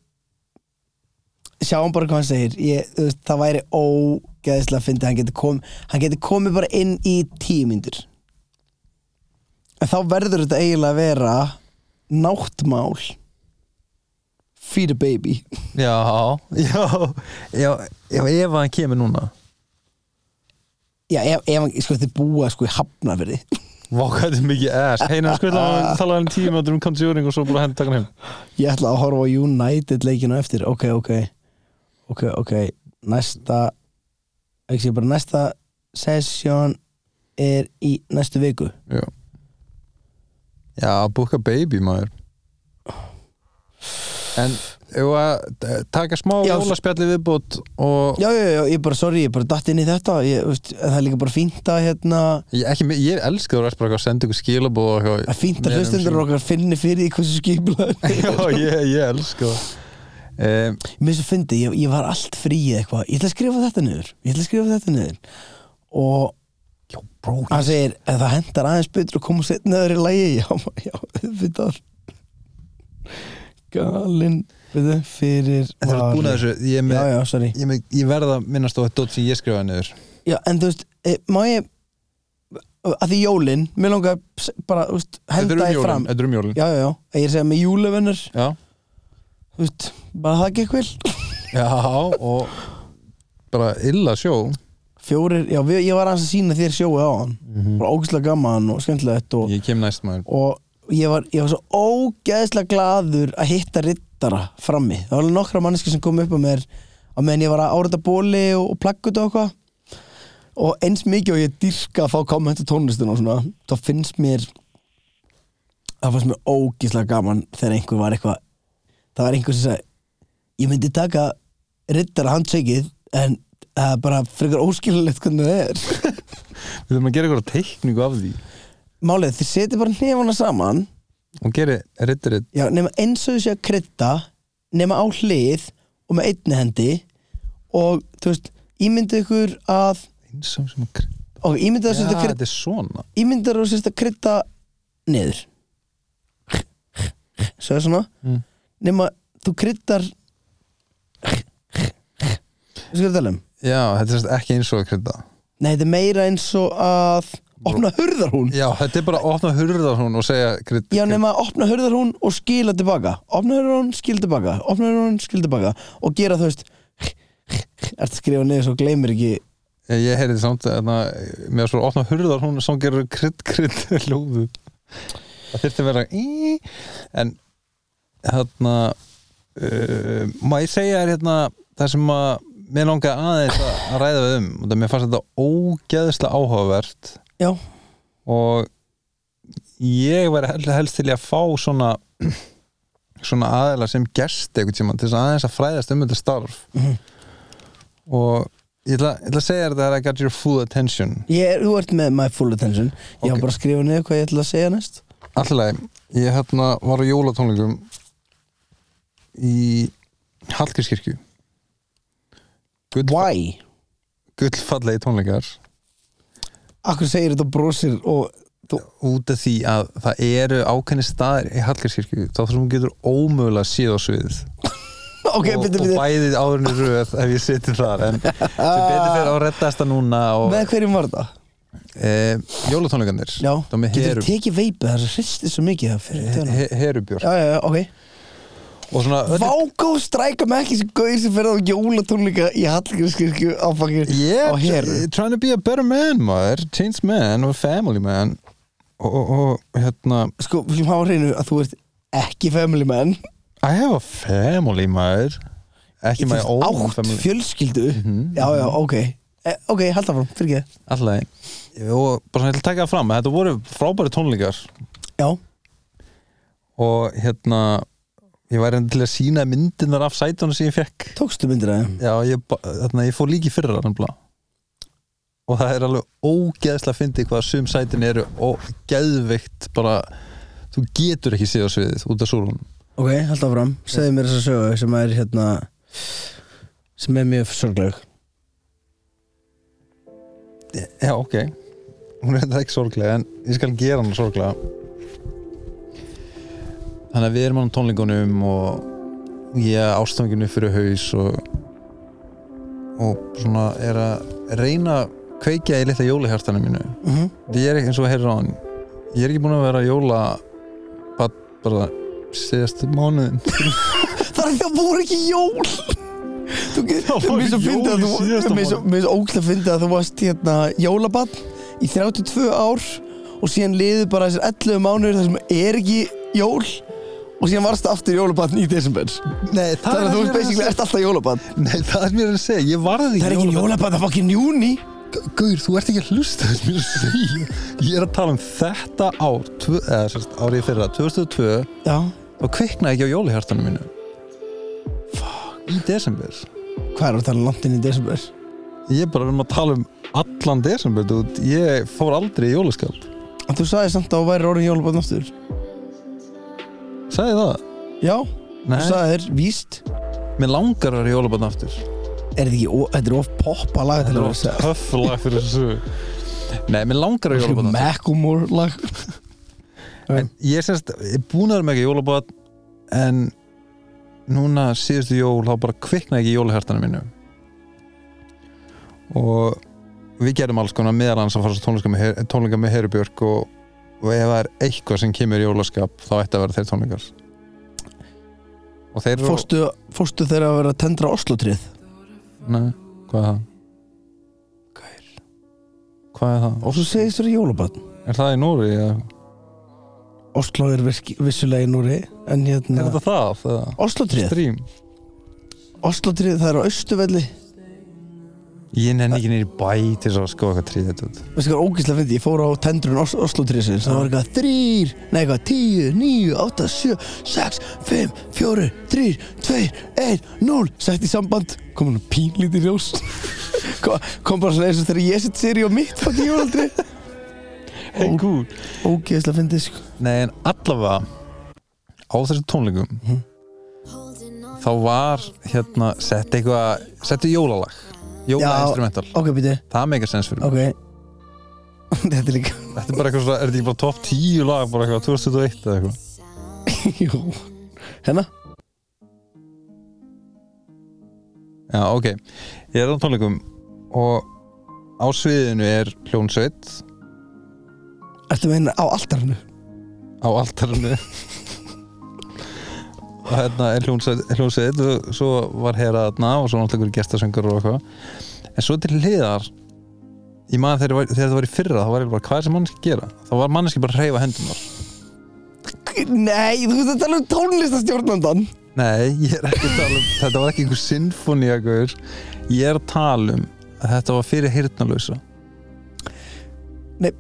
Speaker 1: sjáum bara hvað hann segir ég, þú veist, það væri ógeðislega að fyndi hann geti kom, hann geti komið bara inn í tíu myndir en þá verður þetta eiginlega að vera náttmál feed a baby
Speaker 2: Já, já, já, já ef hann kemur núna
Speaker 1: já, ef, ef hann, sko, þið búa sko í hafnafyrði
Speaker 4: Vá, hvað þetta er mikið ass Hei, hann skvilla
Speaker 2: Ah.
Speaker 4: að tala um tíma um conjuring og svo búið að henda takan heim
Speaker 1: Ég ætla að horfa á United leikinu eftir Ok, ok Ok, ok, næsta ekki sé bara næsta sesjón er í næstu viku
Speaker 2: Já Já, búka baby maður En ef að eh, taka smá
Speaker 1: Já,
Speaker 2: jólaspjalli viðbútt og
Speaker 1: Já, já, já, ég bara, sorry, ég bara datt inn í þetta ég, veist, en það er líka bara fínt að hérna
Speaker 2: ég, ekki, mi- ég elska þú ræst bara eitthvað að senda ykkur skilabóð og eitthvað.
Speaker 1: það er fínt að
Speaker 2: Meira um
Speaker 1: hlustendur
Speaker 2: sín.
Speaker 1: okkar finni fyrir því hversu skipulað
Speaker 2: Já, ég, ég elska það. um,
Speaker 1: Mér svo fyndi, ég, ég var allt frí eða eitthvað Ég ætla að skrifa þetta niður Ég ætla að skrifa þetta niður Og
Speaker 2: Jó, bró
Speaker 1: hann segir, ef það hendar aðeins betur að koma setna öðru í lagi já, ma- já, auðvitað galinn veitu, fyrir
Speaker 2: Þetta er búin að
Speaker 1: varir.
Speaker 2: þessu, ég, er
Speaker 1: já,
Speaker 2: með,
Speaker 1: já, sorry
Speaker 2: ég, er með, ég verða að minnast á að dótt sem ég skrifaði niður
Speaker 1: já, en þú veist, e, má ég að því jólin, mér langar að s- bara, þú veist,
Speaker 2: Þetta
Speaker 1: henda
Speaker 2: er um
Speaker 1: því
Speaker 2: jólin,
Speaker 1: fram
Speaker 2: þetta er um jólin.
Speaker 1: já, já, já, ég er að segja með júlevennar
Speaker 2: Já.
Speaker 1: þú veist, bara það gekk vel
Speaker 2: Já, og bara illa sjó
Speaker 1: fjórir, já, við, ég var aðeins að sína þér sjóið á hann
Speaker 2: Mhm.
Speaker 1: bara ógæslega gaman og skemmtilegt og
Speaker 2: Ég kem næst maður
Speaker 1: og ég var, ég var svo ógeðslega gladur að hitta rittara frammi það var alveg nokkra manneski sem kom upp á mér á meðan ég var að árita bóli og, og plakkuta og eitthvað og eins mikið og ég dyrka að fá komment á tónlistina og svona, þá finnst mér það fannst mér ógeðslega gaman þegar einhver var eitthvað það var einhver sem sagði ég myndi taka rittara handshakið en það er bara frekar óskilulegt hvernig það er
Speaker 2: Við þurfum að gera eitthvað teikningu af því
Speaker 1: málið, þið setið bara nefana saman
Speaker 2: og gera rittirinn
Speaker 1: Já, nema eins og þú sé að krydda nema á hlið og með einni hendi og þú veist, ímyndu ykkur að
Speaker 2: einsam sem að krydda
Speaker 1: og ímyndu
Speaker 2: Já,
Speaker 1: þess að krydda
Speaker 2: þetta er svona
Speaker 1: ímyndu þess að krydda niður svo er svona
Speaker 2: Mm.
Speaker 1: nema þú kryddar þú skal tala um
Speaker 2: Já, þetta er sem sagt ekki eins og að krydda
Speaker 1: nei, þetta er meira eins og að opna hurðarhún
Speaker 2: Já, þetta er bara að opna hurða hún og segja krydda
Speaker 1: Já, nema að opna hurðarhún og skila tilbaka Opna hurðarhún, skila tilbaka Opna hurðarhún, skila tilbaka Og gera þú veist Ertu að skrifa niður svo gleymir ekki
Speaker 2: Ég, ég heyrði samt að með svo opna hurða hún sem gerur krydd krydd ljóðu Það þurfti að vera í en hérna uh, má ég segja er hérna það sem að mér langar aðeins að að ræða við um og það mér fannst þetta ógeðslega áhugavert
Speaker 1: Já,
Speaker 2: og ég var hel- helst til í að fá svona svona aðeila sem gerst einhvern tímann til þess að aðeins að fræðast um þetta starf og ég ætla, ég ætla að segja þér þetta er að get your full attention
Speaker 1: ég er, þú ert með my full attention Ég
Speaker 2: Ok.
Speaker 1: var bara að skrifa niður hvað ég ætla að segja næst
Speaker 2: Alltaf, ég hérna var á jólatónleikum í Hallgrískirkju Gull,
Speaker 1: Why?
Speaker 2: gullfallegi tónleikar
Speaker 1: Akkur segir þetta og brosir og
Speaker 2: út af því að það eru ákveðni staðir í Hallgrískirkju þá þurfum getur ómögulega síð á sviðið
Speaker 1: Ok, byrju,
Speaker 2: og, og
Speaker 1: byrju
Speaker 2: bæðið áðurinn röð ef ég seti þar en sem betur fyrir á reddasta núna og
Speaker 1: Með hverjum var það?
Speaker 2: e, jólatónleikandir
Speaker 1: Já,
Speaker 2: þá með
Speaker 1: getur
Speaker 2: heru,
Speaker 1: þú tekið veipið þar sem hristi svo mikið það fyrir
Speaker 2: he,
Speaker 1: tjóna
Speaker 2: he, herubjörn
Speaker 1: Já, já, já, ok
Speaker 2: og svona öll,
Speaker 1: Vákó stræka með ekki sem gauðir sem ferða á jólatónleika í Hallgrímskirkju á fangir
Speaker 2: yeah,
Speaker 1: á heru
Speaker 2: trying to be a better man maður, change man og family man og, og, og hérna
Speaker 1: sko, við viljum hafa á hreinu að þú ert ekki family man
Speaker 2: I have a family maður ekki
Speaker 1: Þú
Speaker 2: my
Speaker 1: ert
Speaker 2: own
Speaker 1: átt
Speaker 2: family
Speaker 1: fjölskyldu já, já, ok e, ok, halda fram, fyrir ekki
Speaker 2: alltaf og bara svona ég ætla að taka það fram að þetta voru frábæri tónleikar
Speaker 1: já,
Speaker 2: og hérna ég væri enn til að sína myndinar af sætunum sem ég fekk
Speaker 1: Tókstu myndir að þeim?
Speaker 2: já, ég, ba- þarna, ég fór líki fyrra nefnilega. og það er alveg ógeðslega fyndið hvað sum sætin eru og geðveikt bara þú getur ekki séð á sviðið út af súlunum
Speaker 1: Ok, hald áfram, segðu mér þessa sögu sem er hérna sem er mjög sorgleg
Speaker 2: Já, ok Hún er þetta ekki sorglega en ég skal gera hann sorglega Þannig að við erum hann tónlingunum og ég ástanginu fyrir haus og og svona er að reyna að kveikja í litla jólihjartana mínu
Speaker 1: mm -hmm.
Speaker 2: Því ég er ekki eins og að heyra á hann Ég er ekki búin að vera jóla bara, bara síðast mánuðin
Speaker 1: Það er það voru ekki jól Þú getur,
Speaker 4: voru
Speaker 1: mér svo
Speaker 4: jól
Speaker 1: fyndið að
Speaker 4: í síðasta
Speaker 1: þú Mér svo-
Speaker 4: mánuði.
Speaker 1: mér svo ógæslega fyndið að þú varst hérna jólabann í 32 ár og síðan liðið bara þessir 11 mánuður þar sem er ekki jól og síðan varst aftur jólabann í desember
Speaker 2: Nei, það,
Speaker 1: Þannig að þú
Speaker 2: mér
Speaker 1: veist basically ert alltaf jólabann
Speaker 2: Nei, það er mér að segja, ég varði
Speaker 1: Það er ekki jólabann, það er fucking júni
Speaker 2: Gaur, þú ert ekki að hlusta þess mér að segja Ég er að tala um þetta ár tvö, eða sérst árið í fyrra 2002
Speaker 1: Já,
Speaker 2: þá kviknaði ekki á jólihjartanum mínu Fuck Í desember
Speaker 1: hvað er að tala langt inn í desember?
Speaker 2: Ég er bara um að tala um allan desember þú, veit, Ég fór aldrei í jólaskap
Speaker 1: En þú sagði samt að þú væri orðin jólabann aftur
Speaker 2: Sagði það?
Speaker 1: Já,
Speaker 2: Nei,
Speaker 1: þú sagði þér, víst
Speaker 2: mér langar að vera í jólabann aftur
Speaker 1: Er þetta ekki, ó- þetta er of poppa lag
Speaker 4: Það
Speaker 1: Þetta
Speaker 4: er
Speaker 1: er of
Speaker 4: oft höfðlag fyrir þessu
Speaker 2: Nei, mér langar að vera í jólabann aftur
Speaker 1: Macklemore lag
Speaker 2: en, Ég er sérst, ég er búin að vera með ekki jólabann en núna síðustu jól þá bara kviknaði ekki í jólihjartanum mínu og við gerum alls konar meðal hans að fara svo tónleika með, Her- tónleika með Herubjörg og, og ef það er eitthvað sem kemur í jólaskap þá ætti að vera þeir tónleikar og þeir eru-
Speaker 1: Fórstu, fórstu þegar að vera að tendra Oslotrið
Speaker 2: Nei, hvað er það? Gaur Hvað er það?
Speaker 1: og svo segist þér jólabann
Speaker 2: Er það í Núri? Ja?
Speaker 1: Oslo er virki, vissulega í Núri en
Speaker 2: Er
Speaker 1: hérna
Speaker 2: þetta það? það?
Speaker 1: Oslotrið,
Speaker 2: Strím?
Speaker 1: Oslotrið það er á austuvelli
Speaker 2: Ég nenni ekki nýri bæ til þess að skoða hvað tríð þetta út
Speaker 1: veistu hvað er ógæslega fyndi, ég fór á tendrun Os Oslotrið sinns, það var eitthvað þrýr nei eitthvað tíu, níu, átta, sjö sex, fimm, fjóri, þrýr tveir, einn, núl, sett í samband kom hann pínlítið ljós kom, kom bara svona eins og þegar ég sett sér í og mitt fucking jólaldri
Speaker 4: Hey gúl
Speaker 1: ógæslega fyndi sko
Speaker 2: Nei, en allavega á þessum tónleikum þá var hérna sett eitthvað, settu jólalag
Speaker 1: Já.
Speaker 2: jólainstrumental,
Speaker 1: ok, býti,
Speaker 2: það meikar sens fyrir mig
Speaker 1: ok þetta er líka
Speaker 2: Þetta er bara eitthvað svona, er þetta ekki bara topp 10 lag bara eitthvað 2001 eða eitthvað
Speaker 1: Jú Hérna?
Speaker 2: Já, ok, ég er á tónleikum og á sviðinu er hljónsveit
Speaker 1: Ertu meina á altarinu?
Speaker 2: á altarinu og hérna er hljónsveit og svo var hera þarna og svo náttúrulega einhverjir gestasöngur og eitthvað en svo til hliðar ég maður þegar, ég var- þegar það var í fyrra þá var ég bara hvað er sem manneski gera þá var manneski bara að reyfa hendunar
Speaker 1: Nei, þú veist að tala um tónlistastjórnandan
Speaker 2: nei, ég er ekki að tala um þetta var ekki einhver sinfoníagur ég er að tala um að þetta var fyrir hirtnalösa
Speaker 1: Nei.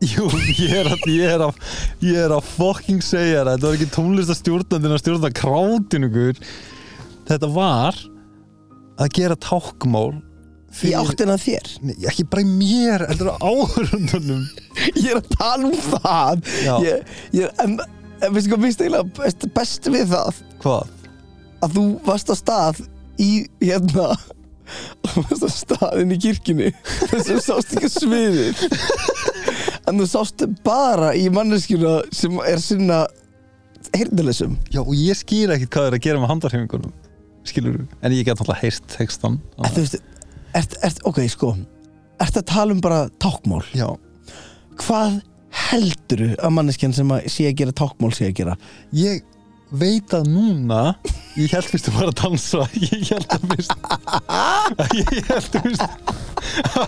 Speaker 2: Jú, ég er að ég er að, ég er að fucking segja það þetta var ekki tónlistastjórnandinn að stjórna krátinu guður þetta var að gera tákmál
Speaker 1: Í áttina að þér
Speaker 2: Nei, ekki bara í mér, heldur á áhörundunum
Speaker 1: Ég er að tala um það
Speaker 2: Já.
Speaker 1: Ég, ég, en, en veistu hvað minnst eiginlega best, best við það
Speaker 2: Hvað?
Speaker 1: Að þú varst á stað í hérna Þú varst á stað inn í kirkjunni Þess að þú sást ekki sviðið En þú sást bara í manneskjuna sem er sinna heyrnileysum
Speaker 2: Já, og ég skýr ekkit hvað það er að gera með handarhefingunum skilur þú, en ég get alltaf heyrt textan
Speaker 1: En þú veist, ert, ert, ok, sko Ert að tala um bara tákmál
Speaker 2: Já,
Speaker 1: Hvað heldur að manneskjan sem að sé að gera tákmál sé að gera?
Speaker 2: ég veit að núna ég held fyrst að bara að dansa ég held að fyrst ég held að fyrst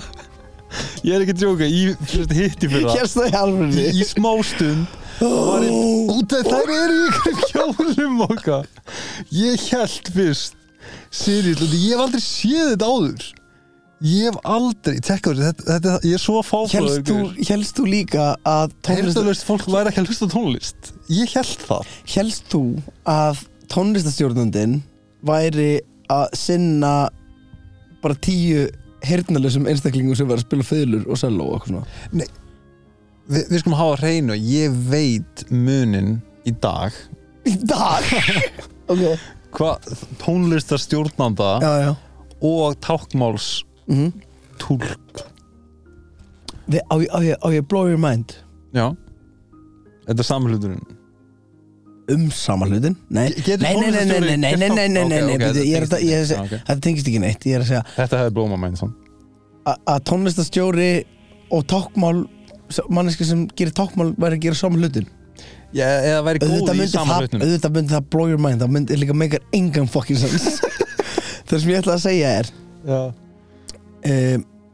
Speaker 2: ég er ekki að djóka ég fyrst hitti fyrir það
Speaker 1: Hérst það í
Speaker 2: í,
Speaker 1: alvörni
Speaker 2: í smástund var ég út af þær eru í ykkur kjólum okkar ég held fyrst seriðl, ég hef aldrei séð þetta áður ég hef aldrei tekka þessu, þetta, þetta, ég er svo
Speaker 1: Hélst þú,
Speaker 2: fáfáður
Speaker 1: hélst þú líka að tónlist
Speaker 2: heyrðalöst fólk væri ekki að hlusta á tónlist ég held það
Speaker 1: Hélst þú að tónlistastjórnandinn væri að sinna bara tíu heyrnalösum einstaklingum sem var að spila föðlur og selló og eitthvað svona
Speaker 2: Vi, við skulum hafa á hreinu ég veit munin í dag
Speaker 1: Í dag! ok
Speaker 2: hvað tónlistarstjórnanda
Speaker 1: Já, já
Speaker 2: og tákmáls
Speaker 1: mm
Speaker 2: Mhm. túlk
Speaker 1: Við, á, ég- á, ég, á ég blow your mind
Speaker 2: já þetta er samhluturinn
Speaker 1: um sama hlutin Nei,
Speaker 2: Getur
Speaker 1: nei, nei, nei, nei, nei,
Speaker 2: tónlistarstjóri
Speaker 1: nei, nei, nei, nei, nei, nei,
Speaker 2: gert það? Ok, ok,
Speaker 1: bíddu, ég er
Speaker 2: þetta
Speaker 1: að- ég er að segja-
Speaker 2: tengist ekki. Já, ok.
Speaker 1: þetta tengist ekki neitt Ég er að segja
Speaker 2: þetta hefði blóma mæn sann
Speaker 1: a- að tónlistastjóri og tákmál manneski sem gerir tákmál væri að gera sama hlutin
Speaker 2: eða væri
Speaker 1: auðvitað
Speaker 2: góð í
Speaker 1: myndi, það,
Speaker 2: samhlutinu
Speaker 1: auðvitað myndi það blow your mind það myndi líka meikar engan fucking sens það sem ég ætla að segja er um,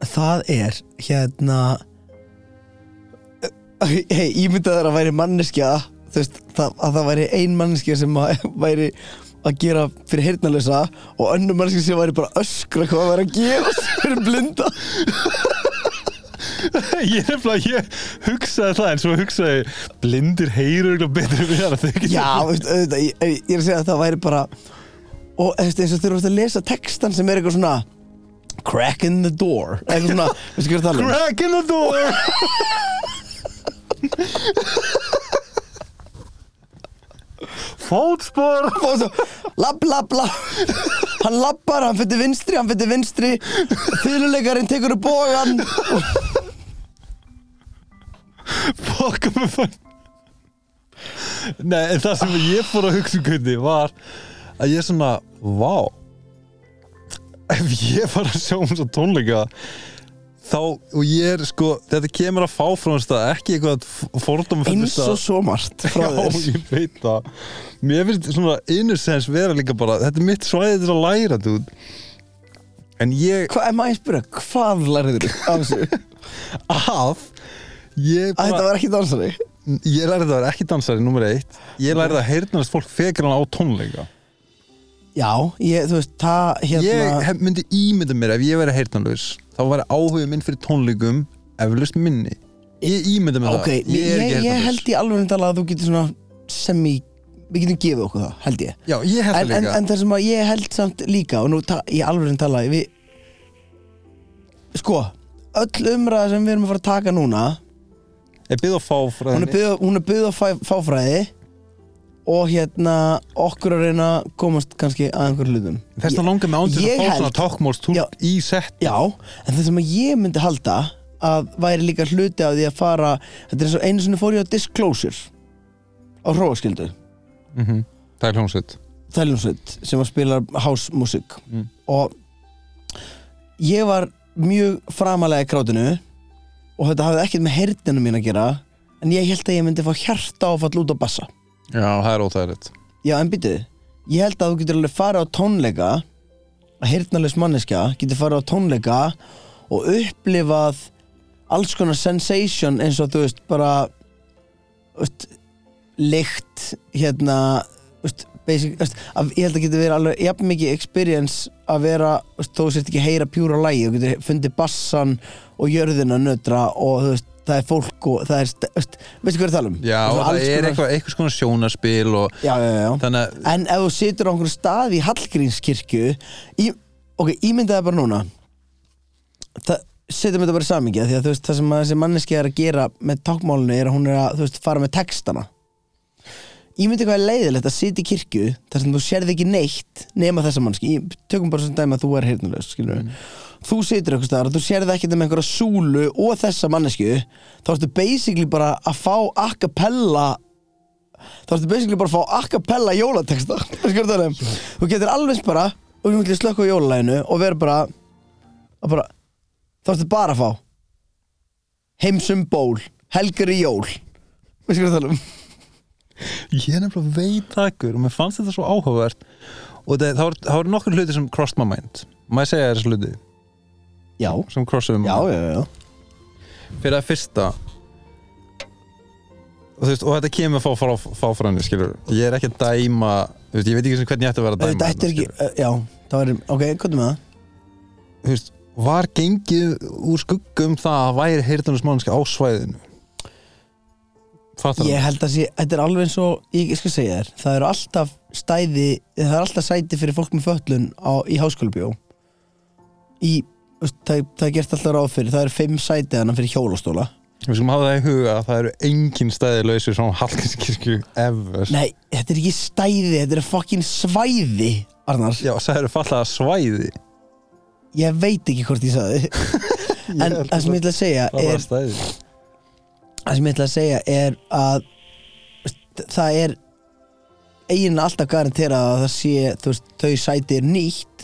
Speaker 1: það er hérna hey, ég myndi að það væri manneskja þú veist, það, að það væri ein manneskja sem að, væri að gera fyrir heyrnalösa og önnur manneskja sem væri bara að öskra hvað það væri að gera fyrir blinda
Speaker 4: Ég er nefnilega, ég hugsaði það en svo hugsaði ég, blindir heyrur eitthvað betur við það að þau geta
Speaker 1: Já, veist, auðvitað, ég, ég er að segja að það væri bara og þú veist, eins og þurfum að lesa textan sem er eitthvað svona crack in the door eitthvað svona, veistu hvað ég er að tala um
Speaker 4: Crack in the door Fótspor
Speaker 1: og svo, lapp, lapp, lapp hann lappar, hann fyrir vinstri, hann fyrir vinstri fyrirleikarinn tekur upp bógan
Speaker 4: Fuck um fun Nei, en það sem ég fór að hugsa um kundi var að ég svona, vá ef ég fara að sjá um svo tónleika þá, og ég er sko þetta kemur að fá frá hans það ekki eitthvað fordóma
Speaker 1: eins og svo margt frá þér
Speaker 4: Já, ég veit það Mér finnst svona innocence vera líka bara Þetta er mitt svæði til að læra, dude En ég
Speaker 1: Hvað, ef maður að spyrja, hvað lærður þú af þessu?
Speaker 4: af Ég,
Speaker 1: Að þetta
Speaker 4: bara,
Speaker 1: var ekki dansari
Speaker 4: ég lærði það að vera ekki dansari, nummer eitt Ég lærði það að heyrnast fólk fekir hann á tónleika
Speaker 1: Já, ég, þú veist, það hérna
Speaker 2: ég hef- myndi ímynda mér ef ég væri heyrnanlaus þá væri áhugum minn fyrir tónleikum eflust minni ég ímynda mér
Speaker 1: Ok,
Speaker 2: það ég
Speaker 1: ég,
Speaker 2: er ekki
Speaker 1: ég
Speaker 2: heyrnarlaus
Speaker 1: held í alveg að tala að þú getur svona semi, við getum gefið okkur það, held ég
Speaker 2: já, ég held
Speaker 1: en,
Speaker 2: það
Speaker 1: en,
Speaker 2: líka
Speaker 1: en það sem að ég held samt líka og nú ta- í alveg að tala við, sko, öll umræða sem við erum að fara að taka núna
Speaker 2: ég byrði að fá frá
Speaker 1: hún er
Speaker 2: henni
Speaker 1: byggð- hún er byggð á fæ- fáfræði og hérna okkur að reyna að komast kannski að einhver hlutum
Speaker 2: þess að langa mig án til
Speaker 1: Ég
Speaker 2: að fá svona
Speaker 1: held- Já.
Speaker 2: tákmálstúlk í sett
Speaker 1: Já, en það sem að ég myndi halda að væri líka hluti af því að fara þetta er eins og einu sinni fór ég á Disclosure á hróaskildu
Speaker 2: það er hljómsveit
Speaker 1: tæljónsveit sem að spila house music
Speaker 2: Mm.
Speaker 1: og ég var mjög framalega í krátinu og þetta hafði ekkert með herninu mín að gera en ég held að ég myndi fá hjarta áfall út á bassa
Speaker 2: já, það er óþægilegt
Speaker 1: já en býtið, ég held að þú getur alveg farið á tónleika að hernalus manneskja getur farið á tónleika og upplifað alls konar sensation eins og þú veist bara þú veist, lykt hérna þú veist, basic, þú veist, að, ég held að geta verið alveg jafn mikið experience að vera þú veist, þó sért ekki að heyra pjúra lægi og getur fundið bassan og jörðina nötra og þú veist, það er fólk og það er st- þú veist, veistu hvað ég er að tala um
Speaker 2: já,
Speaker 1: Þú
Speaker 2: og
Speaker 1: veist,
Speaker 2: það
Speaker 1: alls
Speaker 2: er
Speaker 1: konar-
Speaker 2: eitthvað eitthvað svona sjónarspil og
Speaker 1: já, já, já.
Speaker 2: þannig að
Speaker 1: En ef þú situr á einhverjum stað í Hallgrímskirkju í, Ok, ímyndaði bara núna Það setjum þetta bara í samingja því að þú veist það sem að þessi manneski er að gera með tákmálinu er að hún er að þú veist fara með textana Ímyndi hvað er leiðilegt að sitja í kirkju þar sem þú sérð ekki neitt nema þessa manneski Í- tökum bara svona dæmi að þú er heyrnulegs mm. þú situr eitthvað staðar og þú sérð ekki með einhverja súlu og þessa mannesku þá ertu basically bara að fá a cappella þá ertu basically bara að fá a cappella jólateksta um. þú getur alveg eins bara og þú getur slökka á jólalæginu og vera bara, að bara þá ertu bara að fá heimsum ból, helgar í jól við skulum tala um
Speaker 2: ég er nefnilega veit þakkur og mér fannst þetta svo áhugavert og það, það, var, það var nokkur hluti sem crossed my mind má ég segja þér þessu hluti
Speaker 1: já,
Speaker 2: sem crossuðu mig
Speaker 1: já, já, já
Speaker 2: fyrir að fyrsta og, þú veist, og þetta kemur frá, frá, frá fræni skilur ég er ekki að dæma þú veist, ég veit ekki sem hvernig ég ætti að vera að dæma
Speaker 1: þetta ætti
Speaker 2: hérna,
Speaker 1: ekki, uh, já, það var ok, hvað er með það?
Speaker 2: skilurðu. Þú veist, var um gengið úr skuggum það að væri heyrðanus mannski á svæðinu fattar
Speaker 1: Ég held að sé, þetta er alveg eins og, ég ég skal segja þér, það eru alltaf stæði, það eru alltaf sæti fyrir fólk með föllun á, í háskólabjó. Í, þú veist, það, það er gert alltaf ráð fyrir, það eru fimm sæti hana fyrir hjólastóla.
Speaker 2: Við skulum hafa það í huga að það eru engin stæði lausir svona Hallgrímskirkju ever
Speaker 1: Nei, þetta er ekki stæði, þetta er fucking svæði, Arnar.
Speaker 2: Já, það eru fallega svæði
Speaker 1: Ég veit ekki hvort ég sagði. en
Speaker 2: held
Speaker 1: það sem ég ætla að segja
Speaker 2: Það
Speaker 1: er,
Speaker 2: var stæði
Speaker 1: það sem ég ætla að segja er að það er eiginlega alltaf garanterað að það sé þú veist, þau sæti er nýtt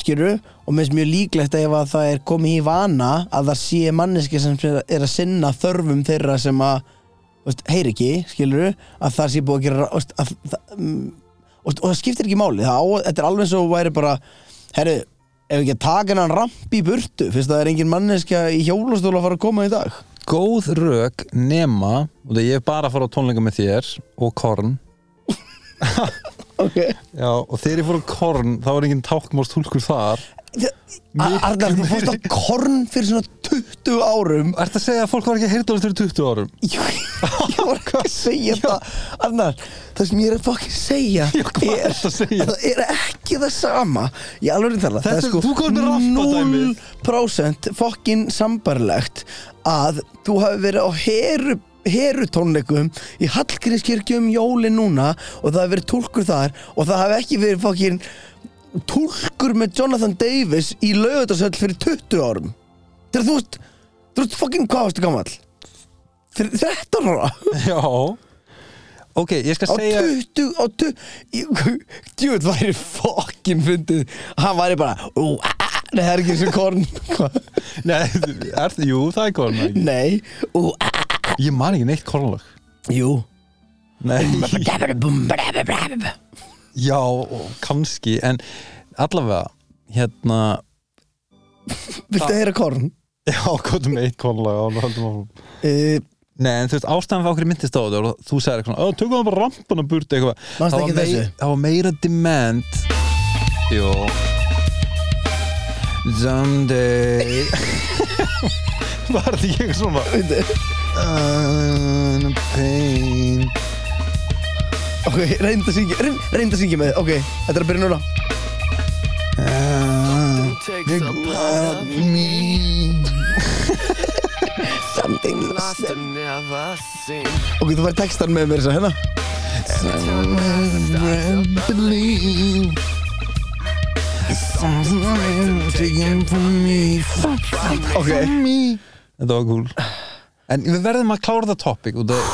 Speaker 1: skilur og mér finnst mjög líklegt ef að það er komið í vana að það sé manneski sem er að sinna þörfum þeirra sem að þú veist, heyr ekki, skilur að það sé búið að gera þú veist, að, það, mm, og, og það skiptir ekki máli það á, þetta er alveg eins og væri bara herru, ef við ekki að taka hennan ramp í burtu fyrst að það er engin manneskja í hjólastól að fara að koma í dag
Speaker 2: Góð rök nema og það ég er bara að fara á tónleika með þér og Korn
Speaker 1: okay.
Speaker 2: Já, og þegar ég fór á Korn þá var engin tákmást húlkur þar Miklu
Speaker 1: Arnar, þú fórst á
Speaker 2: meiri-
Speaker 1: korn fyrir svona 20 árum
Speaker 2: Ertu að segja að fólk var ekki að heyrta alveg fyrir 20 árum?
Speaker 1: Ég ég var ekki að segja þetta Arnar, það sem ég er að fokkin segja
Speaker 2: Já, hvað
Speaker 1: er
Speaker 2: ertu að segja?
Speaker 1: Það er ekki það sama Ég alveg er tala
Speaker 2: Þetta er- þú komst með rampadæmið.
Speaker 1: 0% fokkin sambarlegt að þú hafi verið á heru, herutónleikum í Hallgrímskirkju um jólin núna og það hafi verið tólkur þar og það hafi ekki verið fokkin tólkur með Jonathan Davis í laugatarsöld fyrir 20 árum Þegar þú veist, þú veist fokkin hvað varstu gamall? Þre- 13 ára
Speaker 2: Já Ok, ég skal
Speaker 1: á
Speaker 2: segja
Speaker 1: 20 á 20 Ég- djúið væri fokkin fyndið hann væri bara ú, a, a, a, nei það er ekki eins og korn Hva?
Speaker 2: Nei, er, jú, það er Korn ekki.
Speaker 1: nei ú, a, a,
Speaker 2: Ég man ekki neitt Kornlag
Speaker 1: jú
Speaker 2: Nei
Speaker 1: Bum, bra, bra, bra, bra.
Speaker 2: Já, og kannski, en allavega, hérna
Speaker 1: viltu að heyra korn
Speaker 2: Já, hvað með eitt konlega og haldum áfram
Speaker 1: uh,
Speaker 2: Nei, en þú veist, ástæðan fyrir okkur myndist á þetta og þú sagði eitthvað, svona, "Ó, tökum það bara rampuna burti eitthvað
Speaker 1: Manstu
Speaker 2: Það var
Speaker 1: ekki
Speaker 2: mei-
Speaker 1: þessu?
Speaker 2: Það var meira demand Jó Someday Var þetta ekki eitthvað svona "I'm in pain
Speaker 1: ok reynda að syngja reynda að syngja með þið. ok þetta er að byrja núna
Speaker 5: Takes a lot of
Speaker 1: something
Speaker 5: lost
Speaker 1: lost
Speaker 5: to never seen.
Speaker 1: ok þú væri textan með mér þess að hérna ok
Speaker 2: Þetta var cool En við verðum að klára það topic og það,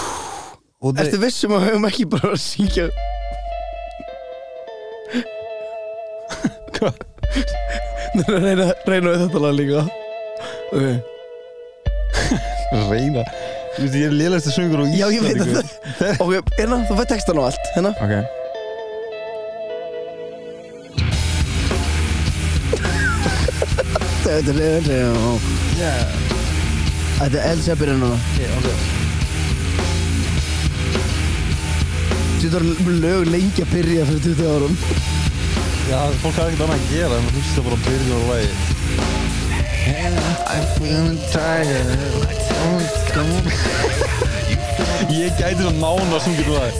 Speaker 2: og það
Speaker 1: ertu vissum að við höfum ekki bara að syngja
Speaker 2: Hvað?
Speaker 1: reyna reyna við þetta lag líka ok
Speaker 2: reyna Þú veist, ég er lélægstu söngur og
Speaker 1: Já, ég veit að það Ok, hérna, þú fætt textan og allt Hérna
Speaker 2: Ok
Speaker 1: Þetta er leiðin Þetta er elds að byrja núna Þetta var lög lengi að byrja fyrir 20 árum
Speaker 2: Já, fólk hafa ekkert annað að gera en þú veist það bara að byrja úr lagi Ég gæti það nána um sem getur það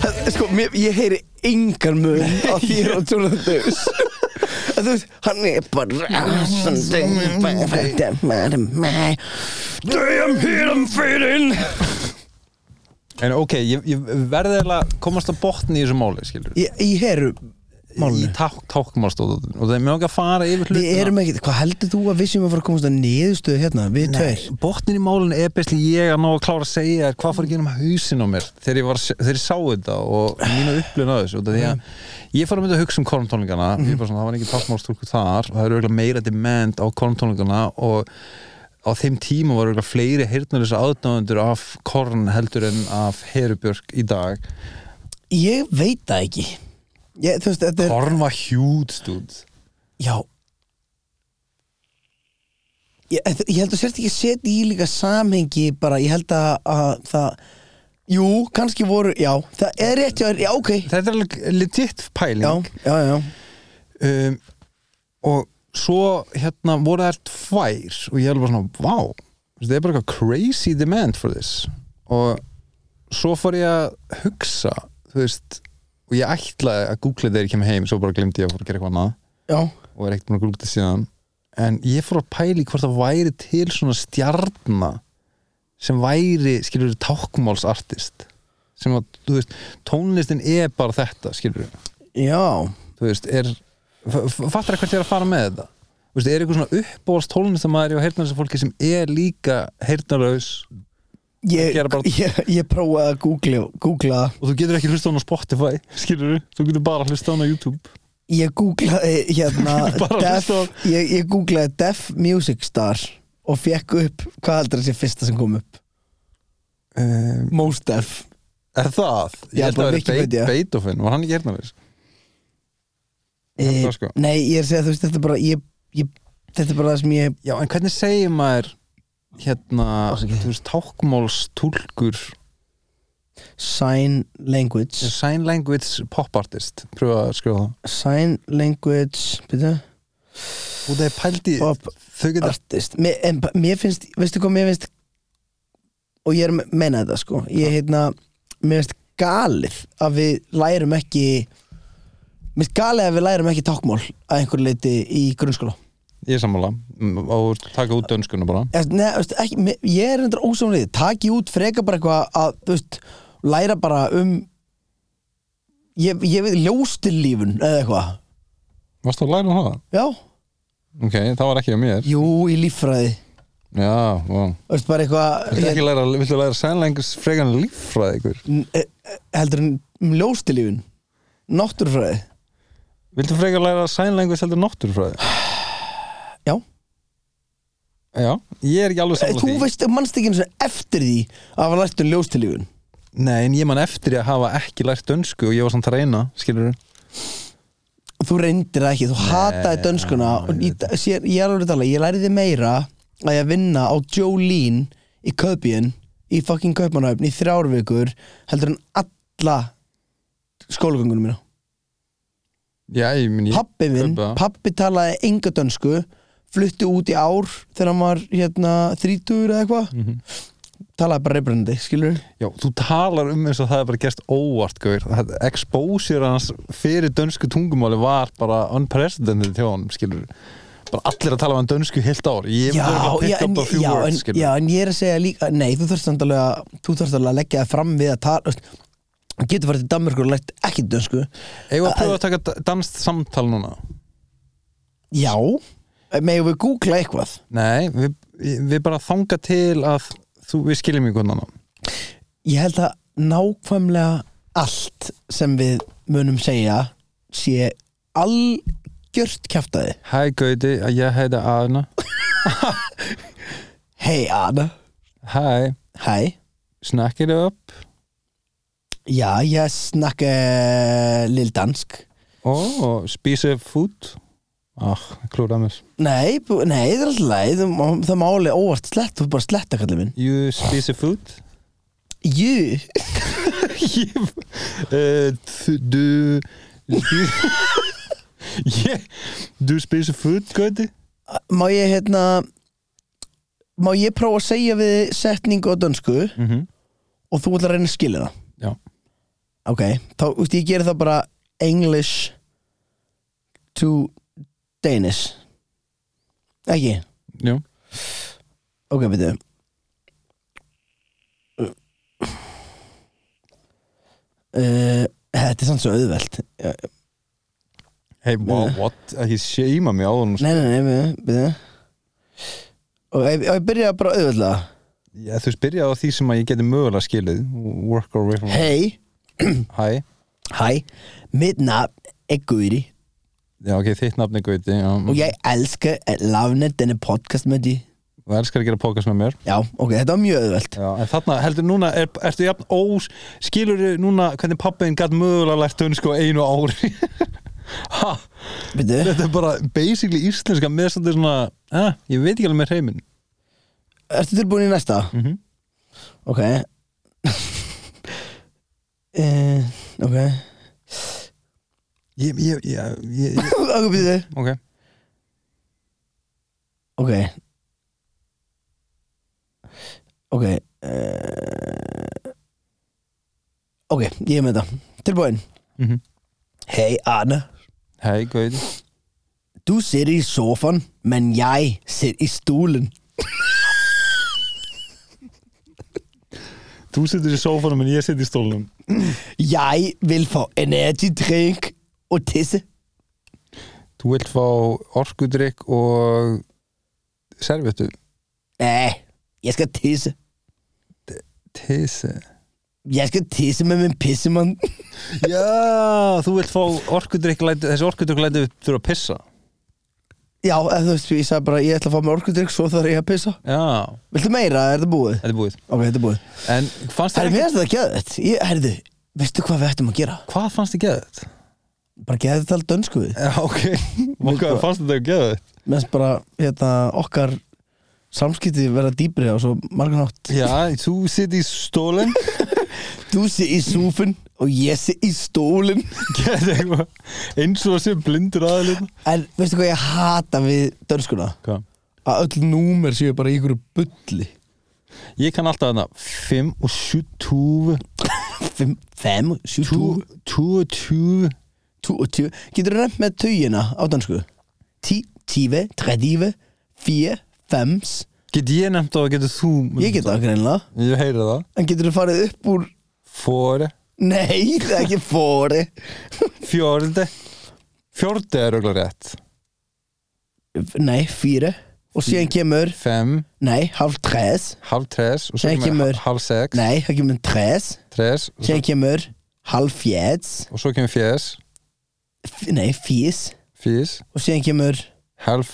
Speaker 1: Það- Sko, mér, ég heyri engan mun á þér og Jonathan Davis En Þú veist, hann er bara rásandi Damn, here I'm fading
Speaker 2: En ok, ég, ég verði eiginlega að komast að botni í þessu máli, skilur
Speaker 1: Ég, ég heyru
Speaker 2: Í ták, tákmást og og það er mjög að fara yfir hlutina
Speaker 1: Við erum ekki, hvað heldur þú að við séum að fara að komast að niðurstöðu hérna, við tveir?
Speaker 2: Botnin í málun er bestli ég að ná að klára að segja þér hvað fór að gera um hausin á mér þegar ég, var, þegar ég sá þetta og mínu upplifun á þessu út af því
Speaker 1: Mhm.
Speaker 2: að ég fór að mynda að hugsa um korntónlingana ég bara svona, það var ekki tákmálstúlku þar og það eru auðvitað meira demand á korntónlingana og á þeim tíma var auðvitað fleiri heyrnarlis aðdáðundur af korn heldur en af herubjörg í dag
Speaker 1: Ég veit það ekki ég, Þú veist, þetta er
Speaker 2: Korn var huge dude
Speaker 1: Já Ég, þetta- ég held að sért ekki að setja í líka samhengi bara, ég held að, að það Jú, kannski voru, já, það er rétt já, já, ok Já,
Speaker 2: Þetta er alveg legit pæling
Speaker 1: já, já,
Speaker 2: um, og svo hérna voru þær tvær og ég heldur bara svona, vá það er bara eitthvað crazy demand for this og svo fór ég að hugsa þú veist, og ég ætlaði að googla þegar ég kem heim, svo bara glemdi ég að fór að gera eitthvað annað
Speaker 1: Já,
Speaker 2: og er ekkert búin að googla þetta síðan en ég fór að pæli hvort það væri til svona stjarna sem væri, skilur við, tákmálsartist sem að, þú veist, tónlistin er bara þetta, skilur við
Speaker 1: já
Speaker 2: þú veist, er fattar það hvert ég er að fara með þetta þú veist, er eitthvað svona uppbóðast tólnestamæður og heyrnarlösa fólki sem er líka heyrnarlaus
Speaker 1: Ég,
Speaker 2: Gera bara-
Speaker 1: ég, ég prófaði að googla, googla
Speaker 2: og þú getur ekki hlusta á hann á Spotify skilur þú getur bara hlusta á hann á YouTube
Speaker 1: Ég googlaði hérna
Speaker 2: Bara
Speaker 1: def,
Speaker 2: hlusta
Speaker 1: ég, ég googlaði Def Music Star og fekk upp, hvað heldur þessi fyrsta sem kom upp?
Speaker 2: um,
Speaker 1: Most Def
Speaker 2: er það?
Speaker 1: Já,
Speaker 2: ég held
Speaker 1: bara
Speaker 2: að það
Speaker 1: Wikipedia.
Speaker 2: er Beethoven, var hann ekki heyrnarlaus?
Speaker 1: e,
Speaker 2: það sko.
Speaker 1: Eh, Nei, ég er að segja þú veist þetta er bara ég, ég, þetta er bara það sem ég
Speaker 2: Já, en hvernig segir maður hérna,
Speaker 1: Ásakið.
Speaker 2: þú veist, tákmálstúlkur
Speaker 1: sign language
Speaker 2: sign language pop artist pröfa að skrifa það
Speaker 1: sign language byrja,
Speaker 2: og það er pældi,
Speaker 1: pop
Speaker 2: þau geta
Speaker 1: artist mér, en, ba- mér finnst, veistu hvað mér finnst og ég er að menna þetta sko ég heitna, mér finnst galið að við lærum ekki mér finnst galið að við lærum ekki tákmál að einhverju leiti í grunnskóla
Speaker 2: ég er sammála, mm, og taka út dönskuna bara
Speaker 1: Eða, Nei, veist, ekki, mér- ég er endur ósámlið taki út freka bara eitthvað að þú veist, læra bara um ég, ég veit ljóstillífun eða eitthvað
Speaker 2: Varst þú að læra um það?
Speaker 1: já,
Speaker 2: Ok, það var ekki á mér
Speaker 1: jú, í líffræði
Speaker 2: Já, vá
Speaker 1: Þú veist, bara eitthvað
Speaker 2: Viltu
Speaker 1: ég,
Speaker 2: ekki læra, viltu læra sign language fregan líffræði ykkur?
Speaker 1: n- e- e- heldur en um ljóstillífun náttúrufræði
Speaker 2: Viltu fregan læra sign language heldur náttúrfræði?
Speaker 1: já,
Speaker 2: Já, ég er ekki alveg
Speaker 1: e,
Speaker 2: sammála
Speaker 1: þú veist, mannst ekki einu sinni eftir því að hafa lært um ljóstillífun
Speaker 2: Nei, en ég man eftir að hafa ekki lært dönsku og ég var samt að reyna, skilur
Speaker 1: þú reyndir það ekki, þú hataði dönskuna og í, sér, ég er alveg að tala, ég læriði meira að ég að vinna á Jolene í Köpien í fucking Köpmanhöfn í þrjár vikur heldur en alla skólagöngunum mína
Speaker 2: Já, ég minn ég
Speaker 1: pappi minn,
Speaker 2: kaupa það.
Speaker 1: pappi talaði enga dönsku flutti út í ár þegar hann var hérna þrítugur eða eitthvað talaði bara reybrandi, skilur
Speaker 2: Já, þú talar um eins og það er bara gerst óvart, gaur. Það- Exposure hans fyrir dönsku tungumáli var bara unprecedented hjá honum, skilur. Bara allir að tala um dönsku heilt ár. Ég
Speaker 1: já,
Speaker 2: var að
Speaker 1: já,
Speaker 2: pick
Speaker 1: en,
Speaker 2: up a few
Speaker 1: já,
Speaker 2: words,
Speaker 1: en,
Speaker 2: skilur.
Speaker 1: já, en ég er að segja líka nei, þú þarfst samt alveg að þú þarfst alveg að leggja það fram við að tala veist, þú getur farið til Danmörku og lært ekki dönsku
Speaker 2: Eigum við að pröfa að taka da- danskt samtal núna?
Speaker 1: já, megum við googla eitthvað
Speaker 2: Nei, við, við bara þanga til að þú, við skiljum í hvernig annan.
Speaker 1: ég held að nákvæmlega allt sem við munum segja sé algjört kjaftaði
Speaker 2: Hæ, Gauti, ég heiti Arna.
Speaker 1: hei Anna,
Speaker 2: Hæ,
Speaker 1: hæ
Speaker 2: snakkið upp
Speaker 1: já, ég snakka eh, lill dansk
Speaker 2: og spísið fút. Ah, klúrað mér.
Speaker 1: nei, bú- nei, það er alltaf leið það má- það má alveg óvart slett, þú bara sletta kallið minn
Speaker 2: You spísið fút?
Speaker 1: jú
Speaker 2: ég eh, þú- du ég du spiser food gauti
Speaker 1: má ég hérna má ég prófa að segja við setningu á dönsku
Speaker 2: Mhm.
Speaker 1: og þú ætlar að reyna að skilja það
Speaker 2: já
Speaker 1: ok, þá, úst, ég gerir það bara English to Danish ekki,
Speaker 2: já
Speaker 1: ok, byrju uh, þetta er samt svo auðvelt Já,
Speaker 2: hey wow what ekki seima mig á honum
Speaker 1: nei, nei, nei, byrju, byrju. og ég, ég byrja bara auðveldlega
Speaker 2: ég, þú spyrja á því sem að ég geti mögulega skilið work or way from
Speaker 1: hei,
Speaker 2: hi
Speaker 1: hæ, mitt nafn er Guðri
Speaker 2: já ok þitt nafni gauti já.
Speaker 1: og ég elska að lafna denne podcast með því
Speaker 2: þú elskar að gera podcast með mér
Speaker 1: já, ok, þetta var mjög auðvelt
Speaker 2: já en þarna heldur núna er, ertu jafn ós skilur núna hvernig pappiðin gætt mögulega lært dönsku á einu ári ha
Speaker 1: Byrju,
Speaker 2: þetta er bara basically íslenska með svolítið svona eh, ég veit ekki alveg með hreiminn
Speaker 1: ertu tilbúin í næsta?
Speaker 2: Mhm.
Speaker 1: ok uh, ok
Speaker 2: Ég, ég, ég, ég, ég
Speaker 1: ok, byrju
Speaker 2: ok
Speaker 1: Ok Ok uh, Ok, ég er með þetta Tilbúin
Speaker 2: Mhm.
Speaker 1: Hei Anna
Speaker 2: Hei, gauði
Speaker 1: Du sitter i sofaen, men jeg sitter i stolen
Speaker 4: Þú sittir í sófanum en ég sitt í stólnum
Speaker 1: Jeg vil få energy drink og tisse
Speaker 2: Þú vilt fá orkudrykk og servetu
Speaker 1: Nei, jeg skal tisse
Speaker 2: Tisse
Speaker 1: Jeg skal tisse med min pissemann
Speaker 2: Já, þú vilt fá orkudrykk læti, þessi orkudrykk læti við fyrir að pissa
Speaker 1: Já, eða þú veist, ég sagði bara Ég ætla að fá mér orkudrykk, svo þarf ég að pissa
Speaker 2: Já,
Speaker 1: Viltu meira, er þetta búið?
Speaker 2: þetta er búið
Speaker 1: Ok, þetta er búið
Speaker 2: En fannst
Speaker 1: Herri, mér
Speaker 2: þér ekki,
Speaker 1: finnst þetta geðvægt Ég, herriðu, veistu hvað við ættum að gera?
Speaker 2: hvað fannst þér geðið?
Speaker 1: Bara geða þetta alveg dönsku við
Speaker 2: Já, ok
Speaker 4: Hvað fannst þetta að geða þetta?
Speaker 1: Mér finnst bara, hérna, okkar samskipti verða dýbri á svo margan hátt
Speaker 2: Já, þú sitt í stólinn
Speaker 1: Þú sé í súfin og ég sé í stólin
Speaker 4: Geða eitthvað eins og sem blindur aðalinn
Speaker 1: En veistu hvað ég hata við dönskuna?
Speaker 2: Hvað?
Speaker 1: Að öll númer séu bara í ykkur bulli
Speaker 2: Ég kann alltaf þarna 5 og 7, 20
Speaker 1: Fimm, fem, sjú, tú,
Speaker 2: 22
Speaker 1: tú og tjú Getur þú nefnt með tugina á dönsku? Tí, tífi, tredífi, fjö, fems
Speaker 2: Get ég nefnt það og getur þú
Speaker 1: Ég get það greinlega
Speaker 2: Ég heyri það
Speaker 1: En getur þú farið upp úr
Speaker 2: Fóri
Speaker 1: Nei, það er ekki fóri
Speaker 2: Fjórði Fjórði er auðvitað rétt
Speaker 1: Nei, fýri Og síðan kemur,
Speaker 2: Fem,
Speaker 1: nei, halv tres
Speaker 2: halv tres Og svo
Speaker 1: Síðan kemur-
Speaker 2: kemur halv sex
Speaker 1: Nei, það kemur tres
Speaker 2: Tres og svo-
Speaker 1: Síðan kemur halv fjeds
Speaker 2: Og svo kemur fjés
Speaker 1: f- Nei, fís
Speaker 2: Fís
Speaker 1: Og síðan kemur
Speaker 2: Halv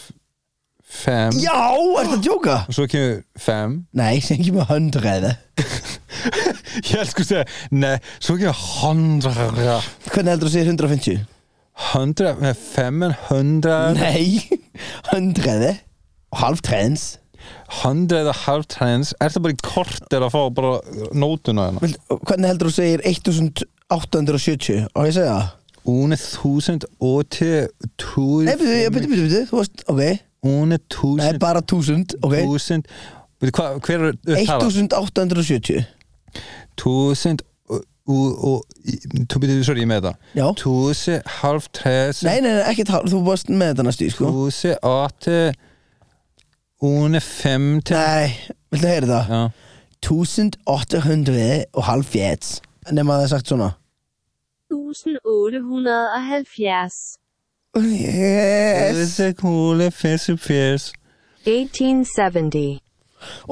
Speaker 2: Fem
Speaker 1: Já, ertu að djóka?
Speaker 2: Og svo kemur fem
Speaker 1: Nei, síðan kemur hundreði
Speaker 2: Ég elsku að segja Nei, svo kemur hundra
Speaker 1: Hvernig heldur þú að segja 150?
Speaker 2: Hundra Nei, fem en hundra
Speaker 1: Nei, hundreði Og halv trens
Speaker 2: Hundra eða halv trens Er það bara í kort að fá bara nótuna hérna
Speaker 1: Vilt- og Hvernig heldur þú að segja 1870? Og ég segja það?
Speaker 2: Une þúsund og til
Speaker 1: Nei, byrju, byrju, byrju, byrju, byrju Þú veist, ok
Speaker 2: Une
Speaker 1: Nei,
Speaker 2: þúsund
Speaker 1: bara 1000, ok
Speaker 2: Þúsund Veitu hvað, hver er upp tala?
Speaker 1: 1870
Speaker 2: Þúsund og- og- og- í- Þú byrjuðu, sorry, ég er með þetta
Speaker 1: Já
Speaker 2: Þúsund, halv tres
Speaker 1: Nei, nei, nei, ekkert hálf, þú varst með þetta næstu, í, sko
Speaker 2: Þúsund, átti Une femti
Speaker 1: Nei, viltu að heyra það?
Speaker 2: Já
Speaker 1: 1800 og halv fjæts Nefn að það er sagt svona
Speaker 6: 1870.
Speaker 1: Yes
Speaker 2: Þúsund, húli, fyrstu, fyrst
Speaker 6: 1870.